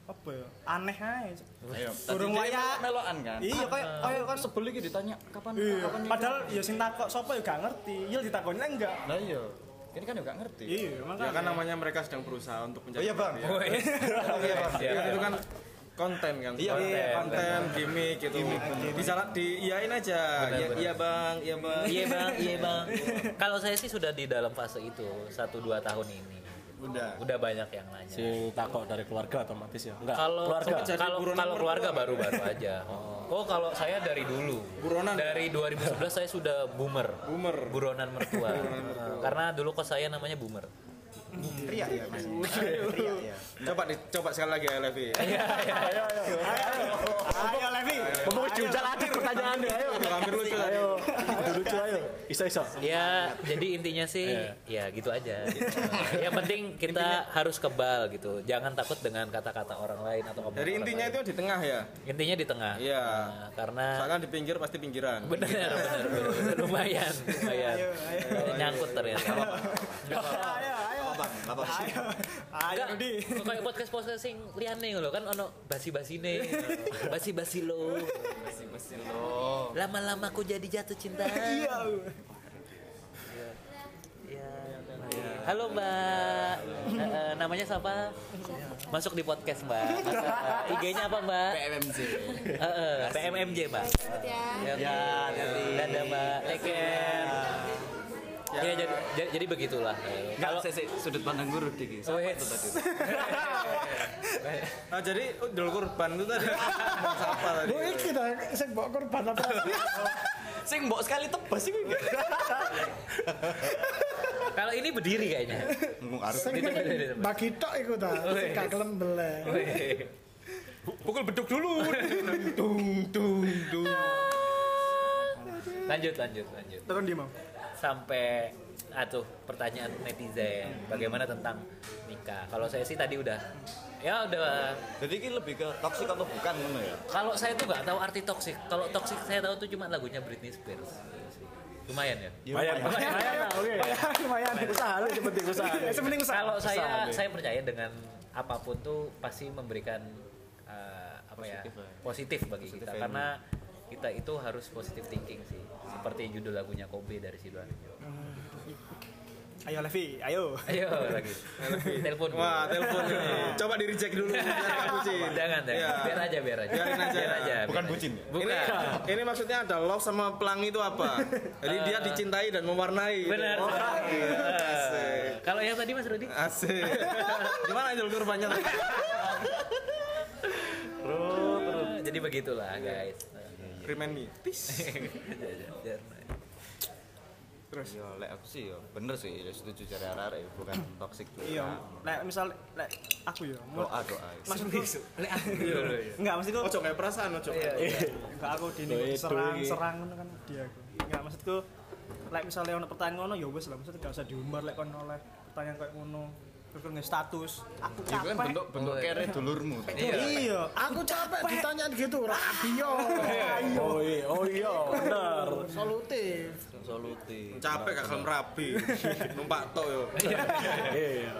[SPEAKER 3] apa ya? Aneh ae.
[SPEAKER 1] Ayo.
[SPEAKER 3] Burung
[SPEAKER 1] Tadi dia
[SPEAKER 3] wayak.
[SPEAKER 1] melokan kan.
[SPEAKER 3] Iya kayak kayak kan
[SPEAKER 1] sebel iki ditanya kapan
[SPEAKER 3] Iya.
[SPEAKER 1] kapan nikah?
[SPEAKER 3] Padahal ya sing takok sapa ya gak ngerti. Ya ditakoni lah enggak.
[SPEAKER 1] Lah iya. Ini kan juga ngerti.
[SPEAKER 3] Iya,
[SPEAKER 2] Ya
[SPEAKER 3] makanya.
[SPEAKER 2] kan namanya mereka sedang berusaha untuk mencari.
[SPEAKER 1] iya, Bang.
[SPEAKER 4] Oh,
[SPEAKER 2] perhatian. Iya, itu kan konten kan. Iya,
[SPEAKER 4] Konten,
[SPEAKER 2] konten, gimmick gitu. Bisa diiyain aja. Iya, iya, Bang. Iya, Bang.
[SPEAKER 4] Iya bang, iya bang. Kalau saya sih sudah di dalam fase itu satu dua tahun ini.
[SPEAKER 1] Udah.
[SPEAKER 4] Udah banyak yang nanya.
[SPEAKER 5] sing takok dari keluarga otomatis ya enggak
[SPEAKER 4] Kalau
[SPEAKER 5] keluarga
[SPEAKER 4] kalau- kalau kalau keluarga baru-baru aja. Oh, kalau saya dari dulu.
[SPEAKER 2] Buronan. ya?
[SPEAKER 4] Dari 2011 saya sudah boomer.
[SPEAKER 2] Boomer.
[SPEAKER 4] Buronan mertua. Karena dulu kos saya namanya boomer.
[SPEAKER 1] Teriak ya, Mas.
[SPEAKER 2] Coba di, coba sekali lagi ya, Levi. iya.
[SPEAKER 3] Ayo Levi.
[SPEAKER 5] ngomong jujur aja pertanyaannya ayo
[SPEAKER 2] Hampir lucu tadi.
[SPEAKER 5] Ayo, lucu ayo iso iso
[SPEAKER 4] Ya, jadi intinya sih ya gitu aja. Yang penting kita harus kebal gitu. Jangan takut dengan kata-kata orang lain atau omongan
[SPEAKER 2] Jadi
[SPEAKER 4] orang
[SPEAKER 2] intinya
[SPEAKER 4] lain.
[SPEAKER 2] itu di tengah ya.
[SPEAKER 4] intinya di tengah.
[SPEAKER 2] Iya.
[SPEAKER 4] Nah, karena
[SPEAKER 2] Soalnya di pinggir pasti pinggiran.
[SPEAKER 4] benar benar benar. lumayan lumayan. Nyangkut ternyata.
[SPEAKER 3] Ayo, ayo. Ayo. Ayo
[SPEAKER 4] Enggak, Eh.
[SPEAKER 3] Rudi.
[SPEAKER 4] kayak podcast podcast sing liane lho kan ono basi-basine. Basi-basi lo.
[SPEAKER 1] Mesin lo.
[SPEAKER 4] Lama-lama aku jadi jatuh cinta. Iya. Iya. Halo Mbak. Eh, eh, namanya siapa? Masuk di podcast Mbak. Mas- IG-nya apa Mbak?
[SPEAKER 1] PMMC.
[SPEAKER 4] Eh, eh, PMMJ Mbak. Ya. Ya, Dadah Mbak.
[SPEAKER 1] Iya.
[SPEAKER 4] Take care. Ya, jadi, jadi, jadi begitulah.
[SPEAKER 1] Kalau saya sudut pandang guru dikit.
[SPEAKER 4] Oh,
[SPEAKER 1] Siapa itu tadi?
[SPEAKER 2] Nah, jadi oh, dul kurban itu tadi. Bahasa apa tadi?
[SPEAKER 4] Oh,
[SPEAKER 6] Bu
[SPEAKER 4] iya.
[SPEAKER 6] iki dah sing mbok korban apa?
[SPEAKER 1] Sing mbok sekali tebas sih.
[SPEAKER 4] Kalau ini berdiri kayaknya.
[SPEAKER 1] harus
[SPEAKER 6] Sing bagi tok iku ta, sing gak kelem beleh.
[SPEAKER 4] Pukul beduk dulu.
[SPEAKER 2] Dung dung dung.
[SPEAKER 4] lanjut, lanjut, lanjut.
[SPEAKER 3] Tekan di mau.
[SPEAKER 4] Sampai atuh pertanyaan netizen bagaimana tentang nikah. Kalau saya sih tadi udah ya udah
[SPEAKER 1] Jadi ini lebih ke toksik atau bukan ngono ya?
[SPEAKER 4] kalau saya tuh nggak tahu arti toxic kalau toxic saya tahu tuh cuma lagunya Britney Spears lumayan ya
[SPEAKER 1] Iya,
[SPEAKER 5] lumayan
[SPEAKER 3] ya.
[SPEAKER 5] lah, oke lumayan usaha lu yang penting usaha lu.
[SPEAKER 4] kalau saya saya percaya dengan apapun tuh pasti memberikan eh, apa ya positif bagi kita karena kita itu harus positive thinking sih seperti judul lagunya Kobe dari Sidoarjo
[SPEAKER 3] Ayo Levi, ayo.
[SPEAKER 4] Ayo lagi. Telepon. dulu.
[SPEAKER 2] Wah, telepon ini. Coba di reject dulu biar nggak bucin.
[SPEAKER 4] Jangan, jangan.
[SPEAKER 2] Iya.
[SPEAKER 4] Biar aja, biar aja.
[SPEAKER 2] Biarin aja. Iya.
[SPEAKER 4] Biar aja.
[SPEAKER 1] Bukan
[SPEAKER 4] biar
[SPEAKER 1] bucin
[SPEAKER 4] aja.
[SPEAKER 1] ya?
[SPEAKER 2] Ini,
[SPEAKER 4] Bukan.
[SPEAKER 2] ini maksudnya ada love sama pelangi itu apa? Jadi dia dicintai dan mewarnai. gitu.
[SPEAKER 4] Benar.
[SPEAKER 2] Oh,
[SPEAKER 4] benar.
[SPEAKER 2] iya. Asik.
[SPEAKER 4] Kalau yang tadi Mas Rudi?
[SPEAKER 2] Asik. Gimana Angel kurbannya?
[SPEAKER 4] Jadi begitulah guys.
[SPEAKER 2] Remind me.
[SPEAKER 1] terus ya lek aku sih ya bener sih ya setuju cari arah ya bukan toksik juga
[SPEAKER 3] Iya. Lek misal lek aku ya. menurut-
[SPEAKER 1] doa doa
[SPEAKER 3] Maksudku lek aku. Enggak, maksudku
[SPEAKER 2] Ojo Oh, kayak perasaan, ojo.
[SPEAKER 3] Iya, enggak aku di serang-serang ngono kan dia aku. Enggak, maksudku lek misalnya ono pertanyaan ngono ya wis lah, maksudnya enggak usah diumbar lek kon oleh pertanyaan koyo ngono. Terus nge status. Aku
[SPEAKER 1] itu kan
[SPEAKER 3] capek.
[SPEAKER 1] bentuk bentuk kere dulurmu
[SPEAKER 3] Iya.
[SPEAKER 6] Aku capek ditanyaan gitu, radio.
[SPEAKER 5] Oh iya, oh iya, bener.
[SPEAKER 6] Solutif.
[SPEAKER 1] soluti
[SPEAKER 2] Capek kakak merapi. Numpak to yo.
[SPEAKER 5] Iya.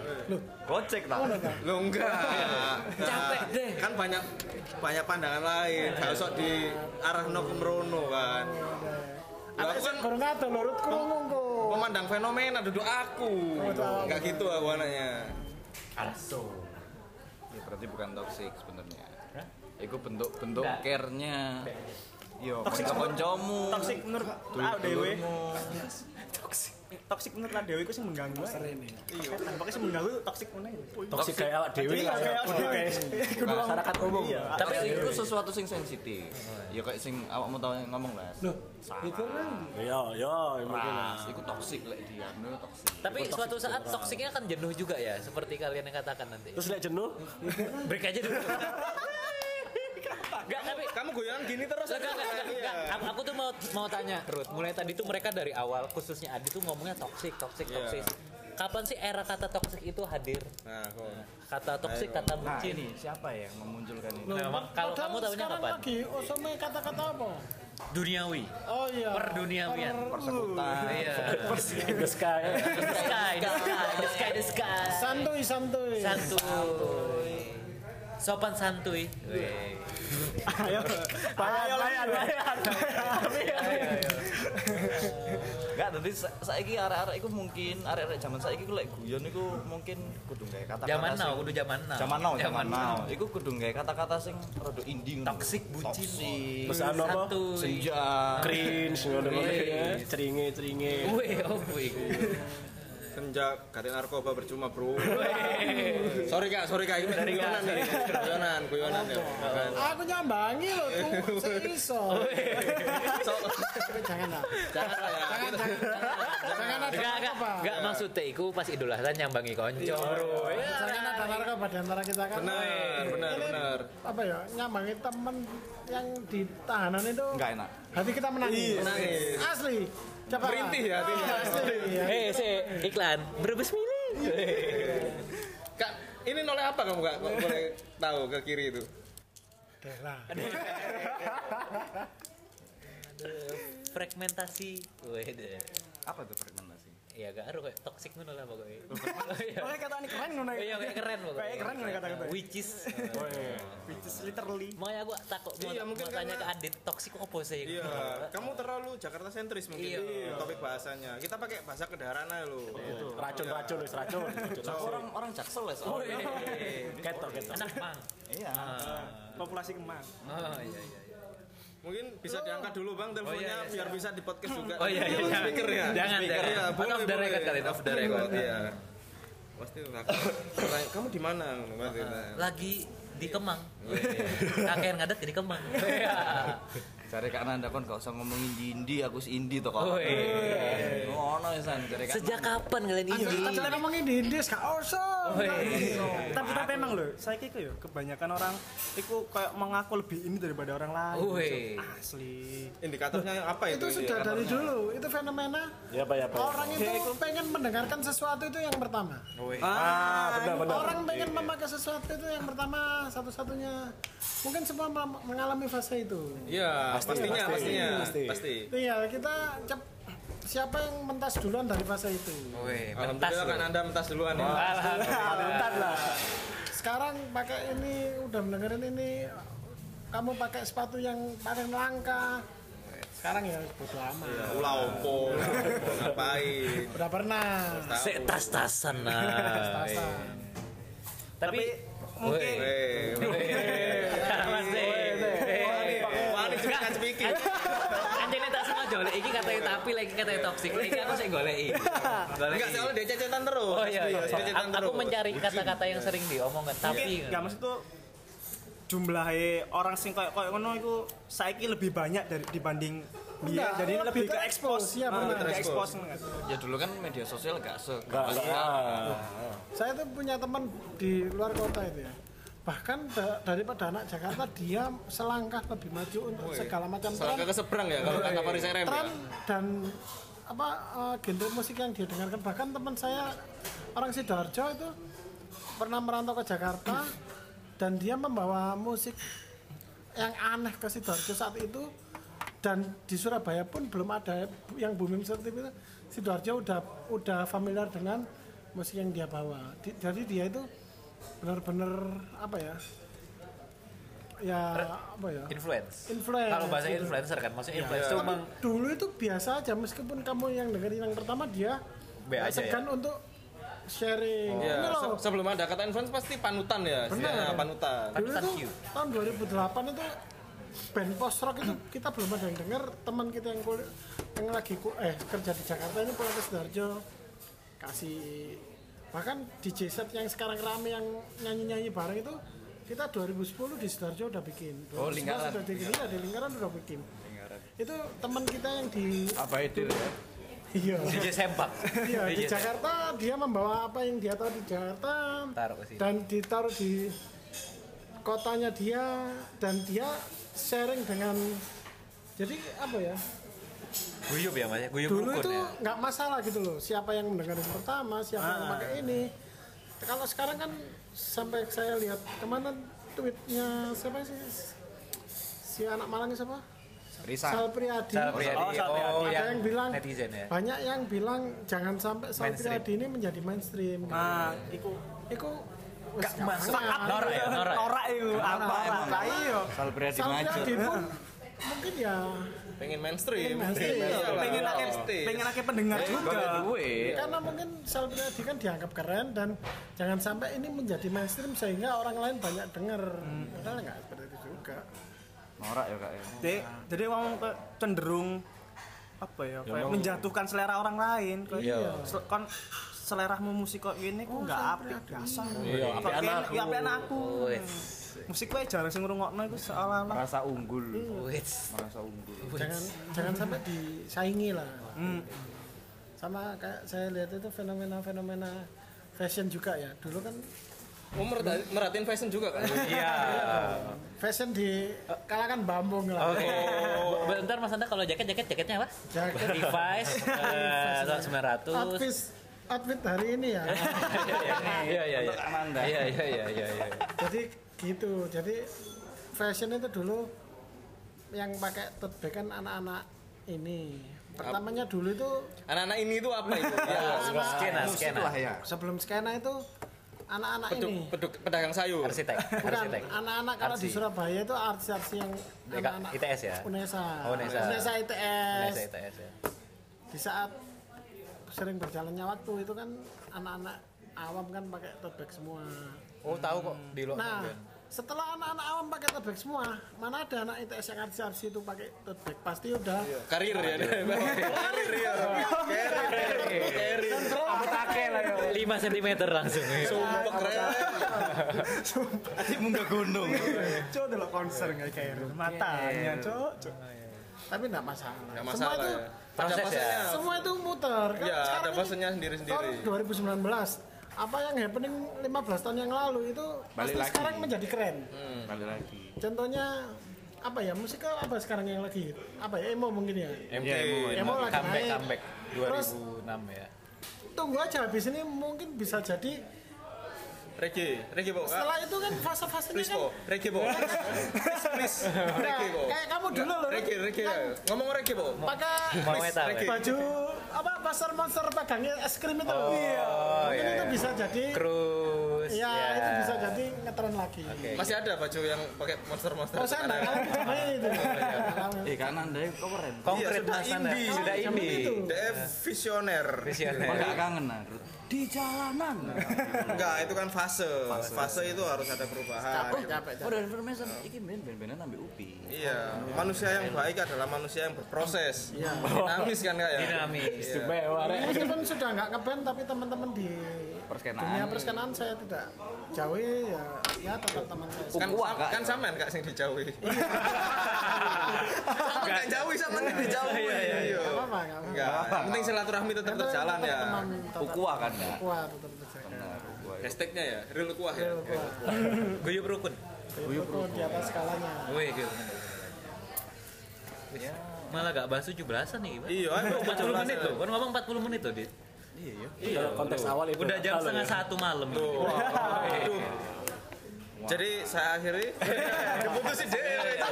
[SPEAKER 1] gocek tak
[SPEAKER 2] Lo enggak.
[SPEAKER 4] Capek deh.
[SPEAKER 2] Kan banyak banyak pandangan lain. Gak usah di arah no kemerono kan. Lah, aku kan
[SPEAKER 6] Kurang ada lurut kerungu kok.
[SPEAKER 2] pemandang fenomena duduk aku.
[SPEAKER 4] Oh,
[SPEAKER 2] Enggak gitu aku anaknya.
[SPEAKER 1] ya berarti bukan toksik sebenarnya itu bentuk bentuk care-nya Yo,
[SPEAKER 3] Toxic
[SPEAKER 1] kanca kancamu.
[SPEAKER 3] Toxic menurut aku dewe. Toxic. Toxic menurut aku dewe iku sing mengganggu. Serene. Iya. Pokoknya sing mengganggu toxic ngono ya.
[SPEAKER 5] Toksik kayak awak dewi lah. ya.
[SPEAKER 3] iya, masyarakat umum. Iya.
[SPEAKER 1] Tapi itu sesuatu sing sensitif. Ya kayak sing awakmu tau ngomong lah.
[SPEAKER 5] Iya, iya, mungkin lah.
[SPEAKER 1] Mas, itu toksik lek dia, no toksik.
[SPEAKER 4] Tapi suatu saat toksiknya akan jenuh juga ya, seperti kalian yang katakan nanti.
[SPEAKER 5] Terus lihat jenuh,
[SPEAKER 4] break aja dulu. Enggak, tapi
[SPEAKER 2] Kamu goyangan gini terus. Iya.
[SPEAKER 4] Enggak, enggak, enggak, enggak. Aku, aku tuh mau mau tanya, Ruth. Mulai tadi tuh mereka dari awal, khususnya Adi tuh ngomongnya toksik, toksik,
[SPEAKER 2] Iya.
[SPEAKER 4] toksik. Kapan sih era kata toksik itu hadir?
[SPEAKER 2] Nah, kok.
[SPEAKER 4] Kata toksik, kata bucin.
[SPEAKER 1] siapa yang memunculkan ini?
[SPEAKER 4] Nah, mak- kalau
[SPEAKER 6] Padahal
[SPEAKER 4] kamu tahunya
[SPEAKER 6] sekarang
[SPEAKER 4] kapan?
[SPEAKER 6] lagi osome kata-kata apa?
[SPEAKER 4] Duniawi,
[SPEAKER 6] Oh iya.
[SPEAKER 4] perduniawian.
[SPEAKER 1] Persekutan.
[SPEAKER 4] Iya.
[SPEAKER 5] terus kayak
[SPEAKER 4] The sky, the sky, the sky, the sky.
[SPEAKER 6] Santuy santuy.
[SPEAKER 4] Santuy. Sopan santuy.
[SPEAKER 3] Ayo. Ayo layan, layan.
[SPEAKER 1] Enggak, tapi sa- saiki arek-arek iku mungkin arek-arek zaman saiki iku lek guyon iku mungkin kudu gawe kata-kata.
[SPEAKER 4] Zaman
[SPEAKER 1] sing-
[SPEAKER 4] now, kudu zaman now.
[SPEAKER 1] Zaman now, zaman now. Iku kudu gawe kata-kata sing rada indie ngono.
[SPEAKER 4] Toksik, bucin.
[SPEAKER 1] Toksik.
[SPEAKER 5] Terus anu apa?
[SPEAKER 4] Santuy.
[SPEAKER 1] Senja.
[SPEAKER 5] cringe ngono-ngono
[SPEAKER 6] Iya,
[SPEAKER 5] ya. Ceringe, ceringe.
[SPEAKER 4] Wih, oh, wih.
[SPEAKER 2] Senja kate narkoba percuma, Bro. sorry Kak, sorry Kak, ini dari kanan nih. Kuyonan, kuyonan ya. Bukan.
[SPEAKER 6] Aku nyambangi loh tuh seiso. Jangan lah.
[SPEAKER 4] Jangan lah ya. Jangan,
[SPEAKER 6] Jangan ada
[SPEAKER 4] Enggak, enggak,
[SPEAKER 6] narkoba.
[SPEAKER 4] enggak maksudnya iku pas idolasan nyambangi konco,
[SPEAKER 1] Iya.
[SPEAKER 4] bro. Ya,
[SPEAKER 6] Jangan ada narkoba di antara kita kan.
[SPEAKER 2] Benar, benar,
[SPEAKER 6] Ini
[SPEAKER 2] benar.
[SPEAKER 6] Apa ya? Nyambangi temen yang di tahanan itu.
[SPEAKER 1] Enggak enak.
[SPEAKER 6] Hati kita menangis.
[SPEAKER 4] Iya.
[SPEAKER 2] menangis.
[SPEAKER 6] Asli. Coba.
[SPEAKER 2] Merintih ya hatinya.
[SPEAKER 6] Ah, Asli.
[SPEAKER 1] Iya.
[SPEAKER 6] ya.
[SPEAKER 4] Eh, si iklan berbes milih.
[SPEAKER 2] Kak, ini noleh apa kamu Kak? Kok boleh tahu ke kiri itu?
[SPEAKER 6] Daerah.
[SPEAKER 4] Fragmentasi. Wede.
[SPEAKER 1] Apa tuh fragmentasi?
[SPEAKER 4] Ya gak aru kayak toxic ngono lah pokoknya.
[SPEAKER 3] Pokoknya kata ini keren ngono ya.
[SPEAKER 4] Iya, kayak keren pokoknya.
[SPEAKER 3] Kayak keren ngono ya kata-kata.
[SPEAKER 4] Which is
[SPEAKER 3] Which is literally.
[SPEAKER 4] makanya aku takut mau,
[SPEAKER 2] Iya, mungkin
[SPEAKER 4] mau tanya ke
[SPEAKER 2] karena-
[SPEAKER 4] Adit toxic opo sih?
[SPEAKER 2] Iya, kamu terlalu Jakarta sentris mungkin
[SPEAKER 4] Iya.
[SPEAKER 2] Iya. topik bahasanya. Kita pakai bahasa kedaerahan aja loh.
[SPEAKER 5] Racun-racun wis racun.
[SPEAKER 1] Orang orang jaksel ya soalnya.
[SPEAKER 5] Ketok, ketok.
[SPEAKER 4] Anak mang.
[SPEAKER 1] Iya.
[SPEAKER 3] Nah, Populasi kemang.
[SPEAKER 4] Oh iya iya. iya.
[SPEAKER 2] Mungkin bisa diangkat dulu Bang
[SPEAKER 4] iya,
[SPEAKER 2] teleponnya
[SPEAKER 4] iya.
[SPEAKER 2] biar bisa di podcast juga.
[SPEAKER 4] Oh iya iya.
[SPEAKER 2] Jangan speaker ya.
[SPEAKER 4] Jangan
[SPEAKER 2] Speaker,
[SPEAKER 4] jangan.
[SPEAKER 2] Iya,
[SPEAKER 4] On
[SPEAKER 2] boleh,
[SPEAKER 4] off the
[SPEAKER 2] boleh.
[SPEAKER 4] record kali, off the record.
[SPEAKER 2] Iya. Pasti bakal tanya, kamu di mana? Pasti tanya.
[SPEAKER 4] Lagi di Kemang.
[SPEAKER 2] Oh,
[SPEAKER 4] Kakek ngadat di Kemang. Iya.
[SPEAKER 1] Cari Kak Nanda kon gak usah ngomongin indie, aku si indie to kok.
[SPEAKER 4] Oh,
[SPEAKER 1] iya. Ngono ya san, cari Kak
[SPEAKER 4] Sejak kapan kalian ini?
[SPEAKER 6] Tapi ngomongin di India gak Kan usah.
[SPEAKER 3] Tapi tapi emang loh, saya kira yo ya, kebanyakan orang itu kayak mengaku lebih ini daripada orang lain.
[SPEAKER 4] Weh.
[SPEAKER 3] Cuk. Asli.
[SPEAKER 2] Indikatornya apa itu?
[SPEAKER 6] Itu
[SPEAKER 2] Indi?
[SPEAKER 6] sudah dari dulu. Itu fenomena
[SPEAKER 5] Ya apa ya apa.
[SPEAKER 6] orang itu pengen mendengarkan sesuatu itu yang pertama.
[SPEAKER 5] Ah, benar benar.
[SPEAKER 6] Orang pengen memakai sesuatu itu yang pertama satu-satunya. Mungkin semua mel- mengalami fase itu.
[SPEAKER 2] Iya, pastinya,
[SPEAKER 5] pasti,
[SPEAKER 2] pastinya,
[SPEAKER 5] pasti.
[SPEAKER 2] pasti.
[SPEAKER 6] Iya, kita cep- siapa yang mentas duluan dari fase itu.
[SPEAKER 4] Weh, mentas
[SPEAKER 2] Alhamdulillah kan
[SPEAKER 4] loh.
[SPEAKER 2] Anda mentas duluan ya.
[SPEAKER 3] Bentar lah.
[SPEAKER 6] Sekarang pakai ini udah mendengarin ini kamu pakai sepatu yang paling langka. sekarang ya bodo amat
[SPEAKER 2] Ulah opo, ngapain?
[SPEAKER 6] udah pernah
[SPEAKER 2] Iya.
[SPEAKER 4] Sek tas-tasan lah.
[SPEAKER 6] Tasan.
[SPEAKER 4] Tapi
[SPEAKER 3] mungkin
[SPEAKER 2] Weh, weh.
[SPEAKER 4] Mas deh.
[SPEAKER 2] Wani juga kan speaking.
[SPEAKER 4] Anjene tak sengaja golek iki katanya tapi lagi katanya toksik. Lah Iki aku sik goleki. Goleki.
[SPEAKER 2] Enggak, soalnya dia cecetan terus.
[SPEAKER 4] Oh iya, iya.
[SPEAKER 2] Dia cecetan
[SPEAKER 4] Aku-
[SPEAKER 2] terus.
[SPEAKER 4] Aku mencari kata-kata yang sering diomongkan tapi
[SPEAKER 3] nggak ya, maksud tuh jumlahnya orang sing kayak kayak ngono itu saiki lebih banyak dari dibanding dia jadi lebih
[SPEAKER 6] lebih ke
[SPEAKER 3] ke expose
[SPEAKER 6] expose, ya,
[SPEAKER 3] Ah,
[SPEAKER 6] benar.
[SPEAKER 3] lebih ke expose
[SPEAKER 1] ya dulu kan media sosial gak se
[SPEAKER 6] saya tuh punya teman di luar kota itu ya bahkan da- daripada anak Jakarta dia selangkah lebih maju untuk segala macam
[SPEAKER 2] Soalnya
[SPEAKER 6] tren,
[SPEAKER 2] ke seberang ya kalau kata Paris Rem ya.
[SPEAKER 6] tren
[SPEAKER 4] Iya.
[SPEAKER 6] dan apa eh, genre musik yang dia dengarkan bahkan teman saya orang sidoarjo itu pernah merantau ke Jakarta dan dia membawa musik yang aneh ke sidoarjo saat itu dan di Surabaya pun belum ada yang booming seperti itu sidoarjo udah udah familiar dengan musik yang dia bawa Di- jadi dia itu benar-benar apa ya ya apa ya
[SPEAKER 4] influence.
[SPEAKER 6] Influence,
[SPEAKER 4] Kalau bahasa
[SPEAKER 6] gitu.
[SPEAKER 4] influencer kan
[SPEAKER 2] Iya.
[SPEAKER 4] maksudnya influencer itu emang
[SPEAKER 6] dulu itu biasa aja meskipun kamu yang dengerin yang pertama dia
[SPEAKER 4] Be aja
[SPEAKER 6] segan untuk sharing
[SPEAKER 2] Ya,
[SPEAKER 6] ini loh
[SPEAKER 2] se- sebelum ada kata influence pasti panutan ya, istilahnya panutan.
[SPEAKER 1] Nah,
[SPEAKER 6] dulu
[SPEAKER 4] Pakistan
[SPEAKER 6] itu
[SPEAKER 4] Q.
[SPEAKER 6] tahun 2008 itu band post rock itu kita belum ada yang denger teman kita yang kul- yang lagi ku- eh kerja di Jakarta ini pulang ke Sidoarjo kasih bahkan DJ set yang sekarang rame yang nyanyi-nyanyi bareng itu kita 2010 di Sidoarjo udah bikin
[SPEAKER 1] Oh,
[SPEAKER 6] 2011
[SPEAKER 1] Lingkaran.
[SPEAKER 6] sudah bikin, iya, di lingkaran udah bikin itu teman kita yang di
[SPEAKER 1] apa itu ya
[SPEAKER 6] iya
[SPEAKER 4] DJ sempak.
[SPEAKER 6] Iya, di Jakarta dia membawa apa yang dia tahu di Jakarta
[SPEAKER 4] Taruh ke sini.
[SPEAKER 6] dan ditaruh di kotanya dia dan dia sharing dengan jadi apa ya
[SPEAKER 4] Guyup ya Mas, ya? guyup
[SPEAKER 6] dulu
[SPEAKER 4] rukun
[SPEAKER 6] itu
[SPEAKER 4] ya.
[SPEAKER 6] nggak masalah gitu loh siapa yang mendengar yang pertama siapa yang
[SPEAKER 4] Ah.
[SPEAKER 6] pakai ini kalau sekarang kan sampai saya lihat kemana tweetnya siapa sih si anak Malang siapa Sal Priadi
[SPEAKER 4] Sal Priadi.
[SPEAKER 3] Oh, Sal Priadi.
[SPEAKER 4] Oh,
[SPEAKER 6] ada yang, bilang
[SPEAKER 4] netizen ya.
[SPEAKER 6] banyak yang bilang jangan sampai Sal
[SPEAKER 4] Mainstream. Ah.
[SPEAKER 6] Priadi ini menjadi mainstream
[SPEAKER 3] nah itu
[SPEAKER 6] Iku wis gak
[SPEAKER 3] masuk
[SPEAKER 6] pernah.
[SPEAKER 4] Norak ya, norak. ya.
[SPEAKER 3] norak itu apa Iya. apa iyo
[SPEAKER 1] Sal Priadi
[SPEAKER 6] Sampai
[SPEAKER 1] maju
[SPEAKER 6] Adi pun mungkin ya
[SPEAKER 2] Pengen mainstream.
[SPEAKER 6] mainstream.
[SPEAKER 2] Iya,
[SPEAKER 3] pengen
[SPEAKER 2] lah.
[SPEAKER 3] lagi pengen lagi pendengar juga
[SPEAKER 6] karena mungkin Sal Priadi kan dianggap keren dan jangan sampai ini menjadi mainstream sehingga orang lain banyak denger. Padahal nggak seperti itu juga.
[SPEAKER 1] norak ya kak ya
[SPEAKER 3] jadi jadi ngomong ke cenderung apa ya kayak menjatuhkan selera orang lain kayak sel- kon seleramu musik kok gini kok nggak apik biasa iya apik anakku iya apik anakku
[SPEAKER 4] Wes.
[SPEAKER 3] musik gue jarang sing ngrungokno iku seolah-olah
[SPEAKER 1] merasa unggul
[SPEAKER 4] Wes.
[SPEAKER 1] merasa unggul
[SPEAKER 6] Jangan jangan sampai disaingi lah.
[SPEAKER 3] Hmm.
[SPEAKER 6] Sama kayak saya lihat itu fenomena-fenomena fashion juga ya. Dulu kan
[SPEAKER 2] Oh, merhati- merhatiin fashion juga kan.
[SPEAKER 4] Iya.
[SPEAKER 6] fashion di kalangan bambung lah.
[SPEAKER 4] Oke. Bentar Mas Anda kalau jaket jaket jaketnya apa?
[SPEAKER 6] Jaket.
[SPEAKER 4] Oh. Levi's eh, tahun 900.
[SPEAKER 6] Outfit outfit hari ini ya.
[SPEAKER 4] Iya iya iya.
[SPEAKER 1] Amanda
[SPEAKER 4] Iya iya iya iya. iya.
[SPEAKER 6] jadi gitu jadi fashion itu dulu yang pakai tote bag kan anak-anak ini pertamanya dulu itu
[SPEAKER 2] Anak-anak ini tuh apa itu? Ya,
[SPEAKER 4] Skena skena.
[SPEAKER 6] sebelum skena itu anak-anak
[SPEAKER 2] peduk,
[SPEAKER 6] ini
[SPEAKER 2] peduk, pedagang sayur.
[SPEAKER 4] Arsitek.
[SPEAKER 6] bukan
[SPEAKER 4] Arsitek.
[SPEAKER 6] anak-anak kalau di
[SPEAKER 4] Arsi.
[SPEAKER 6] Surabaya itu artis-artis yang
[SPEAKER 4] Eka-
[SPEAKER 6] anak-anak
[SPEAKER 4] ITS ya?
[SPEAKER 6] Unesa
[SPEAKER 4] Oh, Unesa.
[SPEAKER 6] ITS
[SPEAKER 4] Nesa ITS ya.
[SPEAKER 6] di saat sering berjalannya waktu itu kan anak-anak awam kan pakai tote bag semua
[SPEAKER 2] Oh, tahu kok di lo.
[SPEAKER 6] nah setelah anak-anak awam pakai tote bag semua mana ada anak ITS yang artis-artis itu pakai tote bag pasti udah
[SPEAKER 2] Karir ya. Karir ya. Karir.
[SPEAKER 4] Lima sentimeter langsung.
[SPEAKER 2] Sumpah keren.
[SPEAKER 3] cok delok konser nggak kayak matanya cok cok
[SPEAKER 6] tapi nggak masalah.
[SPEAKER 2] Gak
[SPEAKER 6] semua
[SPEAKER 2] masalah
[SPEAKER 6] itu
[SPEAKER 2] ya. Ada
[SPEAKER 4] Proses ya.
[SPEAKER 2] prosesnya.
[SPEAKER 6] semua itu muter kan
[SPEAKER 2] Ya,
[SPEAKER 6] sekarang
[SPEAKER 2] ada
[SPEAKER 6] ini
[SPEAKER 2] prosesnya sendiri-sendiri.
[SPEAKER 6] tahun 2019 apa yang happening 15 tahun yang lalu itu
[SPEAKER 1] Balik
[SPEAKER 6] pasti
[SPEAKER 1] lagi.
[SPEAKER 6] sekarang menjadi keren
[SPEAKER 2] Hmm.
[SPEAKER 1] balik lagi
[SPEAKER 6] contohnya apa ya musik apa sekarang yang lagi hit? apa ya emo mungkin ya
[SPEAKER 4] MK.
[SPEAKER 6] Emo lagi
[SPEAKER 4] Comeback
[SPEAKER 6] naik.
[SPEAKER 4] comeback
[SPEAKER 6] Terus-
[SPEAKER 4] 2006 ya.
[SPEAKER 6] tunggu aja habis ini mungkin bisa jadi
[SPEAKER 2] Regi, Regi bawa. Kak.
[SPEAKER 6] setelah itu kan fase-fasenya
[SPEAKER 2] Please
[SPEAKER 6] kan
[SPEAKER 2] po,
[SPEAKER 6] Nah,
[SPEAKER 2] Regi bawa. Kak. Please, please. Regi bawa.
[SPEAKER 6] kayak kamu dulu loh
[SPEAKER 2] Regi, Regi.
[SPEAKER 6] kan
[SPEAKER 2] Ngomong Regi bawa.
[SPEAKER 6] pakai
[SPEAKER 4] Mau eta.
[SPEAKER 2] Regi.
[SPEAKER 6] baju apa pasar monster
[SPEAKER 2] Oh, iya,
[SPEAKER 6] pegangnya es krim itu iya mungkin itu bisa jadi
[SPEAKER 4] Cruise.
[SPEAKER 6] Ya, itu bisa jadi nge ngetren lagi.
[SPEAKER 2] Masih ada baju yang pakai monster-monster.
[SPEAKER 6] Oh sana,
[SPEAKER 2] Ada.
[SPEAKER 6] kalau di Jepang itu.
[SPEAKER 2] Iya,
[SPEAKER 1] eh karena anda keren
[SPEAKER 4] Konkret
[SPEAKER 2] sudah
[SPEAKER 4] Mas Anda.
[SPEAKER 2] indie.
[SPEAKER 4] Sudah
[SPEAKER 6] Zaman
[SPEAKER 4] ini.
[SPEAKER 6] itu.
[SPEAKER 2] DF visioner.
[SPEAKER 1] Kok
[SPEAKER 4] Visioner.
[SPEAKER 1] nggak kangen nah Ruth? di jalanan
[SPEAKER 2] Enggak, itu kan fase. Fase, itu harus ada perubahan.
[SPEAKER 1] oh dari information iki ben ben benan ambil upi
[SPEAKER 2] Iya, manusia yang baik adalah manusia yang berproses. Dinamis kan kayak.
[SPEAKER 4] Dinamis.
[SPEAKER 2] Iya.
[SPEAKER 6] Meskipun sudah nggak ngeband tapi teman-teman di
[SPEAKER 1] Perskenaan.
[SPEAKER 6] dunia perskenaan saya tidak jauh ya ya tetap teman saya.
[SPEAKER 2] Kan,
[SPEAKER 1] Kuah,
[SPEAKER 2] sam-
[SPEAKER 1] Kak.
[SPEAKER 2] kan sampean kak sing dijauhi. Sama gak jauhi sama yang dijauhi. Iya.
[SPEAKER 6] Nggak apa-apa, nggak apa-apa.
[SPEAKER 2] Enggak, yang penting silaturahmi tetap
[SPEAKER 6] Tetap-
[SPEAKER 2] terjalan
[SPEAKER 6] tetap
[SPEAKER 2] ya.
[SPEAKER 6] teman, tetap-
[SPEAKER 1] Ukuah kan, ya?
[SPEAKER 6] Ukuah, tetap terjaga.
[SPEAKER 2] Hashtagnya ya, real kuah ya.
[SPEAKER 6] Ukuah.
[SPEAKER 4] Guyub rukun.
[SPEAKER 6] Ukuah di atas skalanya.
[SPEAKER 4] Wih, gitu. Ya. Malah gak bahas 17-an nih gimana?
[SPEAKER 2] Iya, ayo,
[SPEAKER 4] 40 menit
[SPEAKER 2] 17-an.
[SPEAKER 4] loh. Kan ngomong 40 menit loh, Dit.
[SPEAKER 6] Iya.
[SPEAKER 5] Dalam konteks awal itu.
[SPEAKER 4] Udah jam
[SPEAKER 5] Halo,
[SPEAKER 4] setengah
[SPEAKER 5] ya.
[SPEAKER 4] satu malam. ini.
[SPEAKER 2] Aduh. Jadi saya akhiri diputusin deh.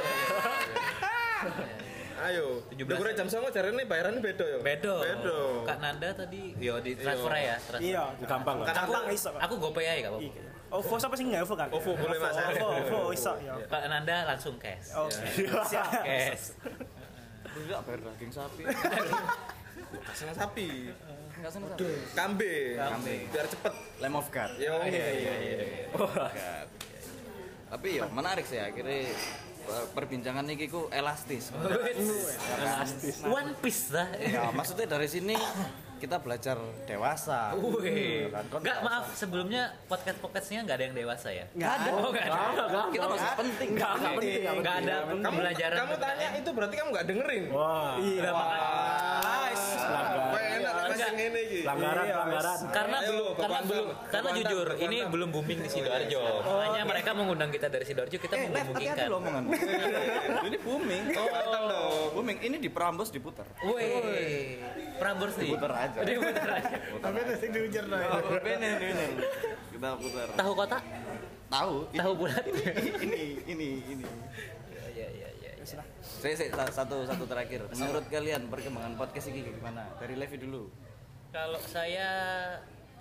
[SPEAKER 2] Ayo,
[SPEAKER 4] 17.
[SPEAKER 2] udah kurang jam sama jarene bayarannya bedo ya.
[SPEAKER 4] Bedo.
[SPEAKER 2] Bedo.
[SPEAKER 4] Kak Nanda tadi yo di transfer aja ya, transfer.
[SPEAKER 3] Iya.
[SPEAKER 5] Gampang lah.
[SPEAKER 3] Gampang iso. Kak.
[SPEAKER 4] Aku GoPay aja gak apa-apa.
[SPEAKER 3] Iya. OVO siapa sih nggak OVO kan?
[SPEAKER 2] OVO, boleh, Mas.
[SPEAKER 3] OVO, OVO, iso ya.
[SPEAKER 4] Kak Nanda langsung cash.
[SPEAKER 3] Oke. Siap.
[SPEAKER 4] Cash.
[SPEAKER 1] tidak bayar daging sapi
[SPEAKER 2] Kasih sapi,
[SPEAKER 1] nggak seneng sapi
[SPEAKER 2] kambing,
[SPEAKER 1] Kambing.
[SPEAKER 2] biar cepet.
[SPEAKER 1] Lamb of God
[SPEAKER 2] Yo.
[SPEAKER 1] tapi ya menarik sih akhirnya per- perbincangan ini ku elastis
[SPEAKER 4] Elastis. One piece lah.
[SPEAKER 1] ya maksudnya dari sini kita belajar dewasa
[SPEAKER 4] Wih.
[SPEAKER 1] Kan, kan
[SPEAKER 4] Enggak, maaf sebelumnya podcast-podcastnya nggak ada yang dewasa ya?
[SPEAKER 1] nggak ada
[SPEAKER 4] Oh, nggak ada.
[SPEAKER 1] kita masih penting
[SPEAKER 5] Nggak, nggak penting. nggak
[SPEAKER 4] Nggak ada
[SPEAKER 2] Kamu
[SPEAKER 4] pembelajaran.
[SPEAKER 2] kamu tanya itu berarti kamu nggak dengerin.
[SPEAKER 5] penting. Wah.
[SPEAKER 3] Iya.
[SPEAKER 2] Nice. Wah, enak
[SPEAKER 4] Enggak.
[SPEAKER 2] nek sing ngene iki.
[SPEAKER 5] Pelanggaran,
[SPEAKER 6] Iya,
[SPEAKER 5] pelanggaran.
[SPEAKER 4] karena
[SPEAKER 2] Ayo,
[SPEAKER 4] belum karena
[SPEAKER 2] Bapak
[SPEAKER 4] belum
[SPEAKER 2] Antam.
[SPEAKER 4] karena
[SPEAKER 2] Bapak
[SPEAKER 4] jujur
[SPEAKER 2] Antam, Bapak
[SPEAKER 4] ini
[SPEAKER 2] Antam.
[SPEAKER 4] belum booming di sidoarjo makanya mereka mengundang kita dari sidoarjo kita
[SPEAKER 1] eh
[SPEAKER 4] mau
[SPEAKER 1] Lev hati-hati
[SPEAKER 4] memboomingkan
[SPEAKER 1] lo omongan ini booming
[SPEAKER 2] Oh, mantap dong.
[SPEAKER 1] booming ini di Prambos diputer
[SPEAKER 4] Woi, Prambors nih.
[SPEAKER 1] Diputer aja.
[SPEAKER 4] Diputer aja.
[SPEAKER 6] Tapi itu sih diujar dong.
[SPEAKER 1] iya. bener bener kita putar
[SPEAKER 4] Tahu kota?
[SPEAKER 1] tahu
[SPEAKER 4] Tahu bulat?
[SPEAKER 1] ini ini ini
[SPEAKER 4] Iya iya iya. iya.
[SPEAKER 1] saya saya- sa- satu satu terakhir menurut kalian perkembangan podcast ini kayak gimana dari Levi dulu
[SPEAKER 4] Kalau saya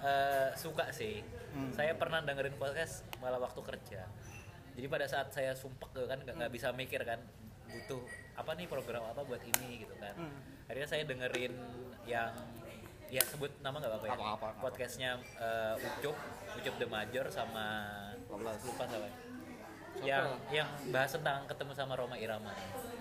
[SPEAKER 4] eh, suka sih. Saya pernah dengerin podcast malah waktu kerja. Jadi pada saat saya sumpek gitu kan nggak nggak bisa mikir kan butuh apa nih program apa buat ini gitu kan. Akhirnya saya dengerin yang ya sebut nama nggak apa-apa ya.
[SPEAKER 1] Apa-apa, nggak
[SPEAKER 4] Podcastnya eh, Ucup, Ucup The Major sama
[SPEAKER 1] 12.
[SPEAKER 4] lupa siapa. Yang yang bahas tentang ketemu sama Roma Irama.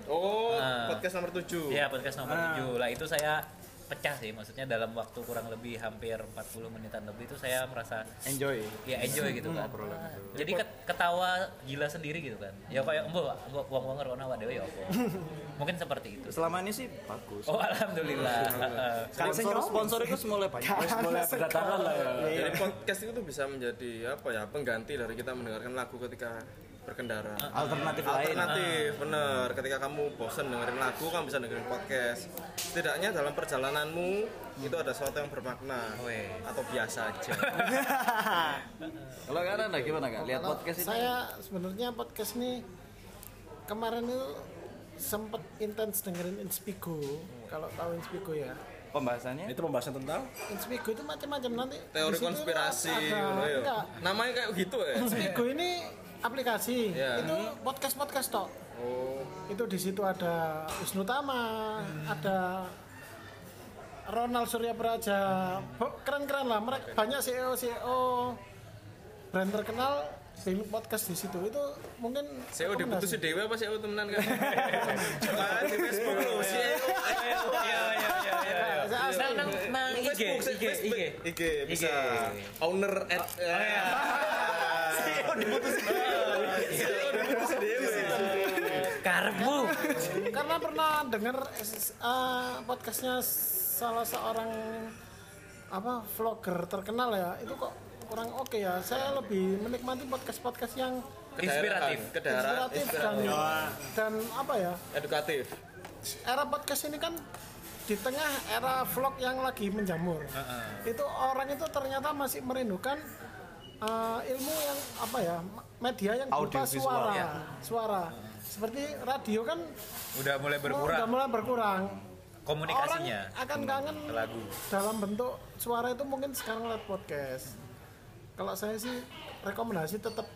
[SPEAKER 2] Oh,
[SPEAKER 4] Ah.
[SPEAKER 2] podcast nomor 7.
[SPEAKER 4] Iya podcast nomor 7 lah itu saya pecah sih maksudnya dalam waktu kurang lebih hampir 40 menitan lebih itu saya merasa
[SPEAKER 1] enjoy
[SPEAKER 4] ya enjoy gitu kan Ah, jadi ket- ketawa gila sendiri gitu kan ya kayak embo embo wong wong ngerono awak dhewe ya apa mungkin seperti itu
[SPEAKER 1] selama ini sih bagus
[SPEAKER 4] oh alhamdulillah Ah,
[SPEAKER 1] sponsor sponsor itu mulai banyak
[SPEAKER 5] Terus mulai berdatangan lah ya.
[SPEAKER 2] Jadi podcast itu tuh bisa menjadi apa ya pengganti dari kita mendengarkan lagu ketika berkendara.
[SPEAKER 1] Ah, alternatif lain
[SPEAKER 2] Alternatif,
[SPEAKER 4] ah.
[SPEAKER 2] bener. Ketika kamu bosen dengerin lagu, kamu bisa dengerin podcast. Setidaknya dalam perjalananmu
[SPEAKER 4] Hmm.
[SPEAKER 2] itu ada sesuatu yang bermakna
[SPEAKER 4] Weh.
[SPEAKER 2] atau biasa aja.
[SPEAKER 1] kalau kalian ada gimana nggak lihat
[SPEAKER 6] Kalau
[SPEAKER 1] podcast ini
[SPEAKER 6] Saya sebenarnya podcast nih kemarin itu sempet intens dengerin Inspigo. Kalau tahu Inspigo ya.
[SPEAKER 1] pembahasannya
[SPEAKER 5] Itu pembahasan tentang
[SPEAKER 6] Inspigo itu macam-macam nanti.
[SPEAKER 2] Teori
[SPEAKER 6] di situ
[SPEAKER 2] konspirasi,
[SPEAKER 6] ada-
[SPEAKER 2] gitu ya.
[SPEAKER 6] enggak.
[SPEAKER 2] namanya kayak gitu ya.
[SPEAKER 6] Inspigo ini aplikasi.
[SPEAKER 2] Iya.
[SPEAKER 6] Itu podcast-podcast tok.
[SPEAKER 2] Oh, Hmm.
[SPEAKER 6] Itu di situ ada Wisnu Tama, ada Ronald Surya Praja. Bo- Keren-keren lah mereka banyak E CEO CEO brand terkenal di podcast di situ itu mungkin
[SPEAKER 2] CEO E diputusin
[SPEAKER 6] rekomendasi.
[SPEAKER 2] dewe apa CEO temenan kan? Kan di Facebook lo, CEO.
[SPEAKER 4] iya iya iya
[SPEAKER 2] ya.
[SPEAKER 6] Saya asli.
[SPEAKER 4] nang nang nang IG IG
[SPEAKER 2] Facebook,
[SPEAKER 4] IG
[SPEAKER 2] Facebook. IG bisa. Owner
[SPEAKER 4] Oh,
[SPEAKER 2] at
[SPEAKER 4] iya.
[SPEAKER 2] eh,
[SPEAKER 1] CEO diputusin
[SPEAKER 2] CEO diputusin dewe.
[SPEAKER 4] karbu
[SPEAKER 6] karena pernah dengar eh, podcastnya salah seorang apa vlogger terkenal ya itu kok kurang oke ya saya lebih menikmati podcast podcast yang
[SPEAKER 4] Inspiratif.
[SPEAKER 2] Kedaerah,
[SPEAKER 6] inspiratif dan dan apa ya
[SPEAKER 2] edukatif.
[SPEAKER 6] era podcast ini kan di tengah era vlog yang lagi menjamur itu orang itu ternyata masih merindukan eh, ilmu yang apa ya media yang berupa
[SPEAKER 1] Audiovisual,
[SPEAKER 6] suara
[SPEAKER 1] ya.
[SPEAKER 6] suara seperti radio kan
[SPEAKER 4] udah mulai
[SPEAKER 6] udah
[SPEAKER 4] berkurang
[SPEAKER 6] mulai berkurang
[SPEAKER 4] komunikasinya Hmm,
[SPEAKER 6] Orang akan kangen
[SPEAKER 4] lagu.
[SPEAKER 6] dalam bentuk suara itu mungkin sekarang lewat podcast. Kalau saya sih rekomendasi tetap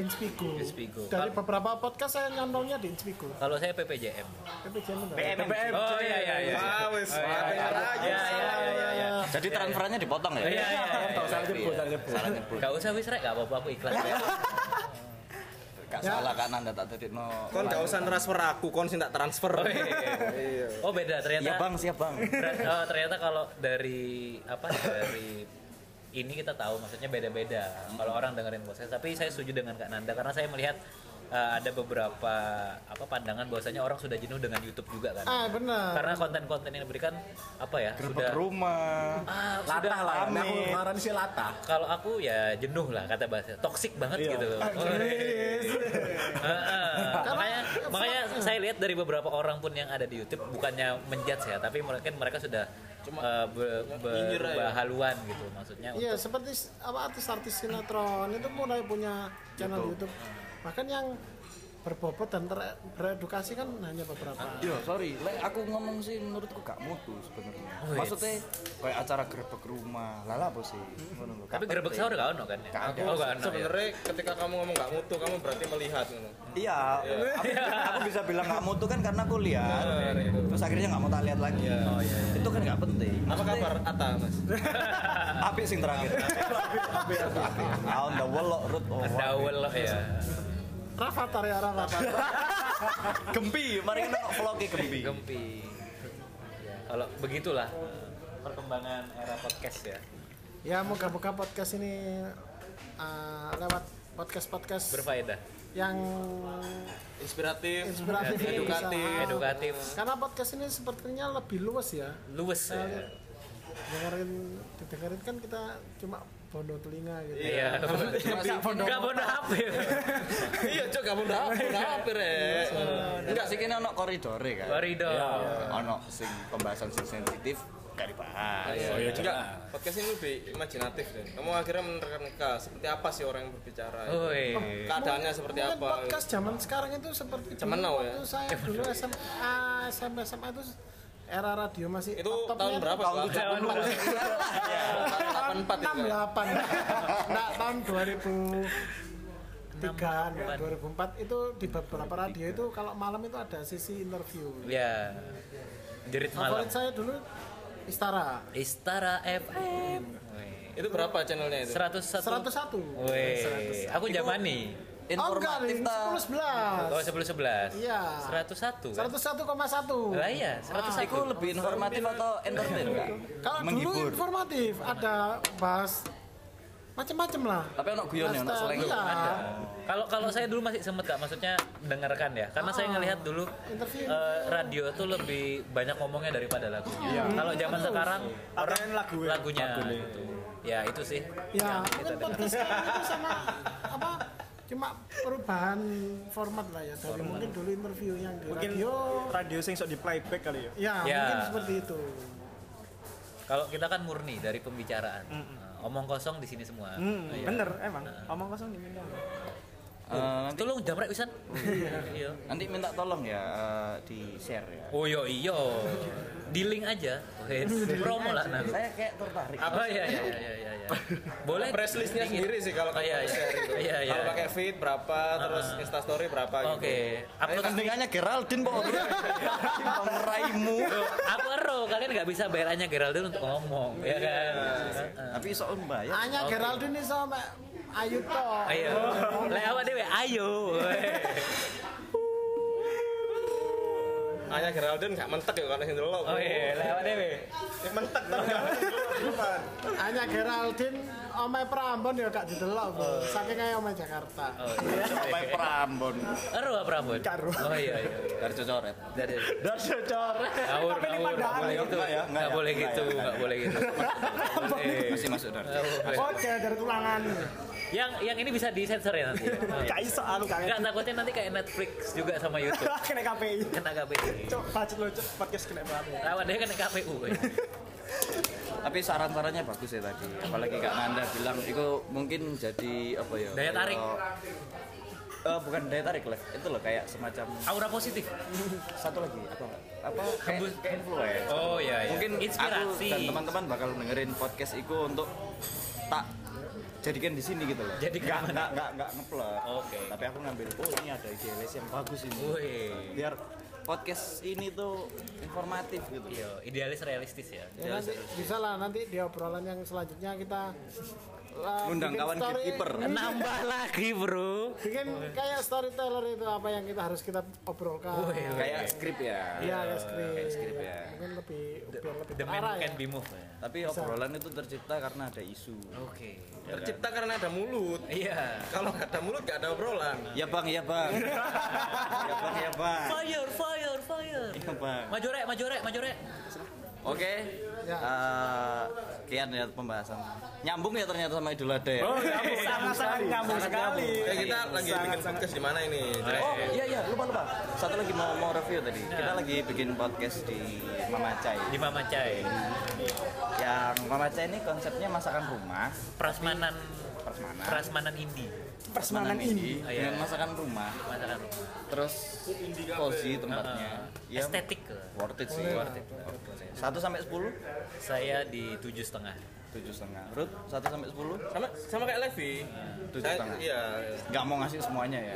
[SPEAKER 6] Inspigo.
[SPEAKER 4] Inspigo.
[SPEAKER 6] Dari
[SPEAKER 4] Kal-
[SPEAKER 6] beberapa podcast saya nyantolnya di Inspigo.
[SPEAKER 4] Kalau saya PPJM.
[SPEAKER 6] Tapi jangan tahu.
[SPEAKER 5] PPM.
[SPEAKER 4] Oh iya iya iya.
[SPEAKER 2] Ah, wis,
[SPEAKER 4] Oh, iya,
[SPEAKER 2] maafin
[SPEAKER 4] iya.
[SPEAKER 2] lagi.
[SPEAKER 4] Iya, iya, iya, iya, iya.
[SPEAKER 1] Jadi transferannya dipotong ya?
[SPEAKER 4] Iya, iya, iya, iya.
[SPEAKER 5] Salah nyebut, salah nyebut.
[SPEAKER 1] Salah nyebut.
[SPEAKER 4] Gak usah wis rek, gak apa-apa aku ikhlas. Oh,
[SPEAKER 1] Kak salah kan Anda tak Iya, tadi no.
[SPEAKER 2] Kon gak usah transfer aku, kon sih tak transfer.
[SPEAKER 4] Oh, iya, iya.
[SPEAKER 2] Iya.
[SPEAKER 4] Oh beda ternyata.
[SPEAKER 1] Iya bang, siap bang.
[SPEAKER 4] Ter- oh, ternyata kalau dari apa dari ini kita tahu maksudnya beda-beda kalau orang dengerin podcast tapi saya setuju dengan Kak Nanda karena saya melihat eh, ada beberapa apa pandangan bahwasanya orang sudah jenuh dengan YouTube juga kan
[SPEAKER 6] Ah, benar.
[SPEAKER 4] karena konten-konten yang diberikan apa ya
[SPEAKER 1] Ke
[SPEAKER 4] sudah
[SPEAKER 1] rumah.
[SPEAKER 4] ah,
[SPEAKER 5] Latah
[SPEAKER 4] sudah
[SPEAKER 5] lah. Nah, aku kemarin sih latah.
[SPEAKER 4] kalau aku ya jenuh lah kata bahasa toksik banget gitu loh. Heeh. makanya makanya saya lihat dari beberapa orang pun yang ada di YouTube bukannya menjudge ya tapi mungkin mereka sudah eh, be- berhaluan gitu maksudnya
[SPEAKER 6] Iya, seperti s- apa artis-artis sinetron itu mulai punya channel YouTube. Bahkan yang berbobot dan ter- beredukasi kan hanya beberapa.
[SPEAKER 1] Yo, sorry, lek aku ngomong sih menurutku gak mutu sebenarnya. Maksudnya kayak acara grebek rumah. Lala apa sih? Ngono lho, Iya. Kak.
[SPEAKER 4] tapi gerbek sahur gak ono kan ya?
[SPEAKER 1] Gak
[SPEAKER 4] Oh, gak ono, ya.
[SPEAKER 2] Nah, Sebenarnya ketika kamu ngomong nggak mutu, kamu berarti melihat gitu. ngono.
[SPEAKER 1] Iya, aku, aku bisa bilang gak mutu kan karena aku lihat.
[SPEAKER 2] iya,
[SPEAKER 1] Terus akhirnya gak mau tak lihat lagi. Itu kan gak penting.
[SPEAKER 2] Apa kabar Ata, Mas?
[SPEAKER 1] Apik sing terakhir. Aon the wall loh, root oh, wah.
[SPEAKER 4] Dawel loh ya.
[SPEAKER 6] Rafathar ya Rafathar.
[SPEAKER 1] Gempi, mari kita kok vlognya gempi.
[SPEAKER 4] Gempi. Ya, kalau begitulah perkembangan era podcast ya.
[SPEAKER 6] ya moga-moga podcast ini uh, lewat podcast-podcast
[SPEAKER 4] Berfaedah,
[SPEAKER 6] yang
[SPEAKER 2] Inspiratif,
[SPEAKER 6] inspiratif ini bisa.
[SPEAKER 2] edukatif.
[SPEAKER 6] Ah,
[SPEAKER 4] edukatif,
[SPEAKER 6] Karena podcast ini sepertinya lebih luas ya.
[SPEAKER 4] luwes ya.
[SPEAKER 6] Dengerin didengerin kan kita cuma bondo telinga gitu.
[SPEAKER 4] Iya. Gak bodoh ya? HP.
[SPEAKER 2] Iya, cok, kamu udah apa? Udah apa, Rek?
[SPEAKER 1] Eh, Enggak sih kini ono koridore kan.
[SPEAKER 4] Koridor.
[SPEAKER 1] Ono sing pembahasan sing sensitif gak dibahas.
[SPEAKER 2] Oh, iya, Enggak, podcast ini lebih imajinatif deh. Kamu akhirnya menerka-nerka seperti apa sih orang yang berbicara? itu.
[SPEAKER 4] Woi.
[SPEAKER 2] Keadaannya seperti
[SPEAKER 6] Mungkin
[SPEAKER 2] apa?
[SPEAKER 6] podcast zaman sekarang itu seperti
[SPEAKER 2] Zaman now
[SPEAKER 6] dulu
[SPEAKER 2] ya?
[SPEAKER 6] waktu saya dulu SMA SMA SMA itu era radio masih
[SPEAKER 2] Itu
[SPEAKER 6] top-topnya
[SPEAKER 2] tahun
[SPEAKER 6] itu
[SPEAKER 2] berapa?
[SPEAKER 1] Tahun
[SPEAKER 2] Pak?
[SPEAKER 1] 70.
[SPEAKER 2] Tahun 84 itu. kan?
[SPEAKER 6] 68 nah tahun 2003 ya, 2004 itu di beberapa radio itu kalau malam itu ada sisi interview
[SPEAKER 4] Ya. Jerit malam.
[SPEAKER 6] favorit saya dulu Istara
[SPEAKER 4] Istara FM. Weh.
[SPEAKER 2] Itu berapa channelnya itu?
[SPEAKER 4] 101.
[SPEAKER 6] 101
[SPEAKER 4] Weh. Aku zamani.
[SPEAKER 6] oh enggak
[SPEAKER 1] Informatif ta.
[SPEAKER 6] 10
[SPEAKER 4] Oh, 10 11.
[SPEAKER 6] Iya. Ah,
[SPEAKER 4] 101.
[SPEAKER 6] 11
[SPEAKER 4] kan?
[SPEAKER 6] 101,1
[SPEAKER 4] Lah iya, 101.
[SPEAKER 1] Iku lebih informatif atau entertain
[SPEAKER 2] Iya.
[SPEAKER 1] Kak?
[SPEAKER 6] Kalau dulu informatif ada bahas macam-macam lah.
[SPEAKER 1] Tapi ono guyon ya, ono
[SPEAKER 6] Lifestyle,
[SPEAKER 1] slang.
[SPEAKER 6] iya.
[SPEAKER 4] Kalau kalau saya dulu masih sempet Kak, maksudnya dengarkan ya. Karena
[SPEAKER 6] Ah.
[SPEAKER 4] saya ngelihat dulu
[SPEAKER 6] Interview.
[SPEAKER 4] eh, radio tuh lebih banyak ngomongnya daripada lagunya.
[SPEAKER 6] Iya.
[SPEAKER 4] Kalau zaman sekarang
[SPEAKER 3] Orang lagu ya.
[SPEAKER 4] lagunya gitu. Ya, itu sih.
[SPEAKER 6] Ya,
[SPEAKER 4] Yang kita
[SPEAKER 6] mungkin podcast sekarang itu sama apa? Cuma perubahan format lah ya dari mungkin dulu interview yang di
[SPEAKER 3] Mungkin
[SPEAKER 6] radio.
[SPEAKER 3] radio sing sok di playback kali ya.
[SPEAKER 6] Ya,
[SPEAKER 4] Ya.
[SPEAKER 6] mungkin seperti itu.
[SPEAKER 4] Kalau kita kan murni dari pembicaraan. Nah, omong kosong di sini semua.
[SPEAKER 3] Hmm,
[SPEAKER 4] Iya.
[SPEAKER 3] bener emang. Omong kosong di Mindanao.
[SPEAKER 1] Eh, nanti,
[SPEAKER 4] Tolong jamrek pisan. Iya.
[SPEAKER 1] nanti minta tolong ya eh, di share ya.
[SPEAKER 4] Oh yo iyo. Di link aja. Wes, promo lah nah.
[SPEAKER 1] Saya kayak tertarik.
[SPEAKER 4] Apa ya ya ya ya ya, ya. Boleh
[SPEAKER 2] Press listnya
[SPEAKER 4] dingin.
[SPEAKER 2] sendiri sih kalau
[SPEAKER 4] Oh, iya
[SPEAKER 2] kamu
[SPEAKER 4] iya.
[SPEAKER 2] share itu.
[SPEAKER 4] Iya iya. Ah.
[SPEAKER 2] Kalau pakai feed berapa, terus instastory berapa gitu.
[SPEAKER 4] Oke. Upload
[SPEAKER 1] Kepentingannya Geraldine pokok bro. Pengeraimu.
[SPEAKER 4] Aku ero, kalian nggak bisa bayar hanya Geraldine untuk ngomong, ya kan?
[SPEAKER 1] Tapi iso ya.
[SPEAKER 6] Hanya Geraldine ini sama Ayu toh.
[SPEAKER 4] Ayo,
[SPEAKER 2] Oh.
[SPEAKER 4] lewat deh, ayo.
[SPEAKER 2] Hanya Geraldine gak mentek ya karena sendiri lo.
[SPEAKER 4] Oh iya, lewat deh.
[SPEAKER 2] Ya, mentek tapi gak mentek.
[SPEAKER 6] Hanya Geraldine Omai Prambon ya gak didelok, Bu. Saking kayak Omai Jakarta.
[SPEAKER 4] Oh iya.
[SPEAKER 1] Sampai Prambon.
[SPEAKER 4] Ero apa Prambon? Oh iya iya. iya.
[SPEAKER 1] Dari cocoret.
[SPEAKER 4] Dari
[SPEAKER 5] Dan secara
[SPEAKER 4] Ngawur, ngawur,
[SPEAKER 3] padahal.
[SPEAKER 4] nggak boleh
[SPEAKER 1] Nggak,
[SPEAKER 4] gitu.
[SPEAKER 1] nggak ya, nggak
[SPEAKER 4] Nggak
[SPEAKER 1] ya,
[SPEAKER 4] boleh
[SPEAKER 1] nggak
[SPEAKER 4] gitu,
[SPEAKER 1] ya, nggak
[SPEAKER 4] nggak
[SPEAKER 1] ya.
[SPEAKER 4] boleh gitu.
[SPEAKER 1] Masih masuk dari.
[SPEAKER 6] Oh, dari tulangan.
[SPEAKER 4] Iya. Yang yang ini bisa disensor ya nanti.
[SPEAKER 3] Gak iso aku
[SPEAKER 4] Enggak
[SPEAKER 3] kangen.
[SPEAKER 4] takutnya nanti kayak Netflix juga sama YouTube. Kan
[SPEAKER 3] Kena KPI.
[SPEAKER 4] Kena KPU.
[SPEAKER 3] Cok, budget lo cok, podcast kena banget.
[SPEAKER 4] Lawan dia kan kena KPU. woy.
[SPEAKER 1] Tapi saran-sarannya bagus ya tadi. Apalagi Kak Nanda bilang itu mungkin jadi apa ya?
[SPEAKER 4] Daya tarik.
[SPEAKER 1] kayak- Eh, bukan daya tarik lah. Itu loh kayak semacam
[SPEAKER 4] Aura positif.
[SPEAKER 1] satu lagi apa apa kayak,
[SPEAKER 4] Hembus.
[SPEAKER 1] kayak influence.
[SPEAKER 4] Oh iya iya.
[SPEAKER 1] Mungkin Ya, aku
[SPEAKER 4] inspirasi.
[SPEAKER 1] dan teman-teman bakal dengerin podcast itu untuk tak jadikan di sini gitu loh.
[SPEAKER 4] Jadikan
[SPEAKER 1] nggak
[SPEAKER 4] mana?
[SPEAKER 1] nggak nggak nggak ngeplek.
[SPEAKER 4] Oke.
[SPEAKER 1] Tapi aku ngambil oh ini ada idealis yang bagus ini.
[SPEAKER 4] Wih.
[SPEAKER 1] Biar podcast ini tuh informatif gitu.
[SPEAKER 4] Yo, Iya, idealis realistis ya.
[SPEAKER 6] Ya, nanti bisa lah nanti di obrolan yang selanjutnya kita uh,
[SPEAKER 1] Undang
[SPEAKER 6] bikin
[SPEAKER 1] kawan
[SPEAKER 6] story-
[SPEAKER 1] gatekeeper.
[SPEAKER 4] Nambah lagi, Bro.
[SPEAKER 6] bikin kayak storyteller itu apa yang kita harus kita obrolkan
[SPEAKER 1] Kayak skrip ya.
[SPEAKER 6] Iya, kayak skrip.
[SPEAKER 1] skrip ya.
[SPEAKER 6] Mungkin lebih biar lebih
[SPEAKER 4] The man who
[SPEAKER 6] terarah ya.
[SPEAKER 4] can be moved. ya.
[SPEAKER 1] Tapi obrolan itu tercipta karena ada isu.
[SPEAKER 4] Oke.
[SPEAKER 2] Tercipta karena ada mulut.
[SPEAKER 4] Iya.
[SPEAKER 2] Kalau nggak ada mulut nggak ada obrolan.
[SPEAKER 1] Ya bang, ya bang. ya bang, ya bang.
[SPEAKER 4] Fire, fire, fire.
[SPEAKER 1] Ya bang.
[SPEAKER 4] Maju rek, maju rek, maju rek.
[SPEAKER 1] Oke. Eh, sekian ya pembahasan. Nyambung ya ternyata sama Idul Adha ya.
[SPEAKER 3] sangat-sangat nyambung sekali
[SPEAKER 2] Eh, kita lagi bikin podcast di mana ini? Jadi,
[SPEAKER 1] Oh iya iya lupa lupa satu lagi mau mau review tadi kita lagi bikin podcast di Mamacai
[SPEAKER 4] Di Mama Cai.
[SPEAKER 1] yang Mamacai ini konsepnya masakan rumah
[SPEAKER 4] Prasmanan
[SPEAKER 1] prasmanan
[SPEAKER 4] prasmanan indie.
[SPEAKER 1] prasmanan ini
[SPEAKER 4] Oh, iya.
[SPEAKER 1] dengan masakan rumah
[SPEAKER 4] Masakan rumah.
[SPEAKER 1] terus cozy tempatnya
[SPEAKER 4] Uh,
[SPEAKER 1] ya
[SPEAKER 4] estetik.
[SPEAKER 1] worth it sih worth it satu sampai sepuluh
[SPEAKER 4] Saya di tujuh setengah.
[SPEAKER 1] tujuh setengah Ruth satu sampai sepuluh
[SPEAKER 2] sama sama kayak Levi.
[SPEAKER 1] Tujuh
[SPEAKER 2] Saya,
[SPEAKER 1] setengah.
[SPEAKER 2] iya.
[SPEAKER 1] nggak mau ngasih semuanya ya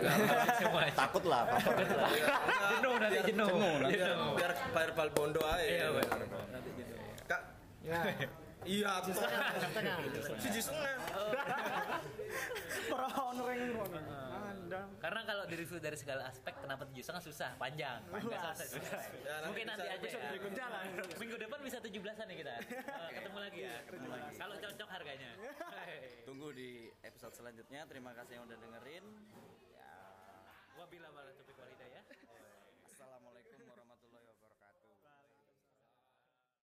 [SPEAKER 4] Semua.
[SPEAKER 1] takut lah baper.
[SPEAKER 4] Jenuh nanti
[SPEAKER 2] Biar-
[SPEAKER 4] jenuh.
[SPEAKER 2] Biar,
[SPEAKER 4] Jenuh.
[SPEAKER 2] biar verbal bondo aja. Iya, Kak,
[SPEAKER 6] Ya.
[SPEAKER 2] iya aku. Tujuh setengah.
[SPEAKER 4] Karena kalau di review dari segala aspek, kenapa tujuh setengah susah, panjang, panjang, susah, susah.
[SPEAKER 2] Ya, nanti
[SPEAKER 4] Mungkin nanti
[SPEAKER 2] bisa-
[SPEAKER 4] aja ya. Minggu depan bisa tujuh belasan nih kita. Eh, Ketemu lagi ya. Kalau cocok harganya.
[SPEAKER 1] tunggu di episode selanjutnya terima kasih yang udah dengerin
[SPEAKER 4] Wabila bala topik ya.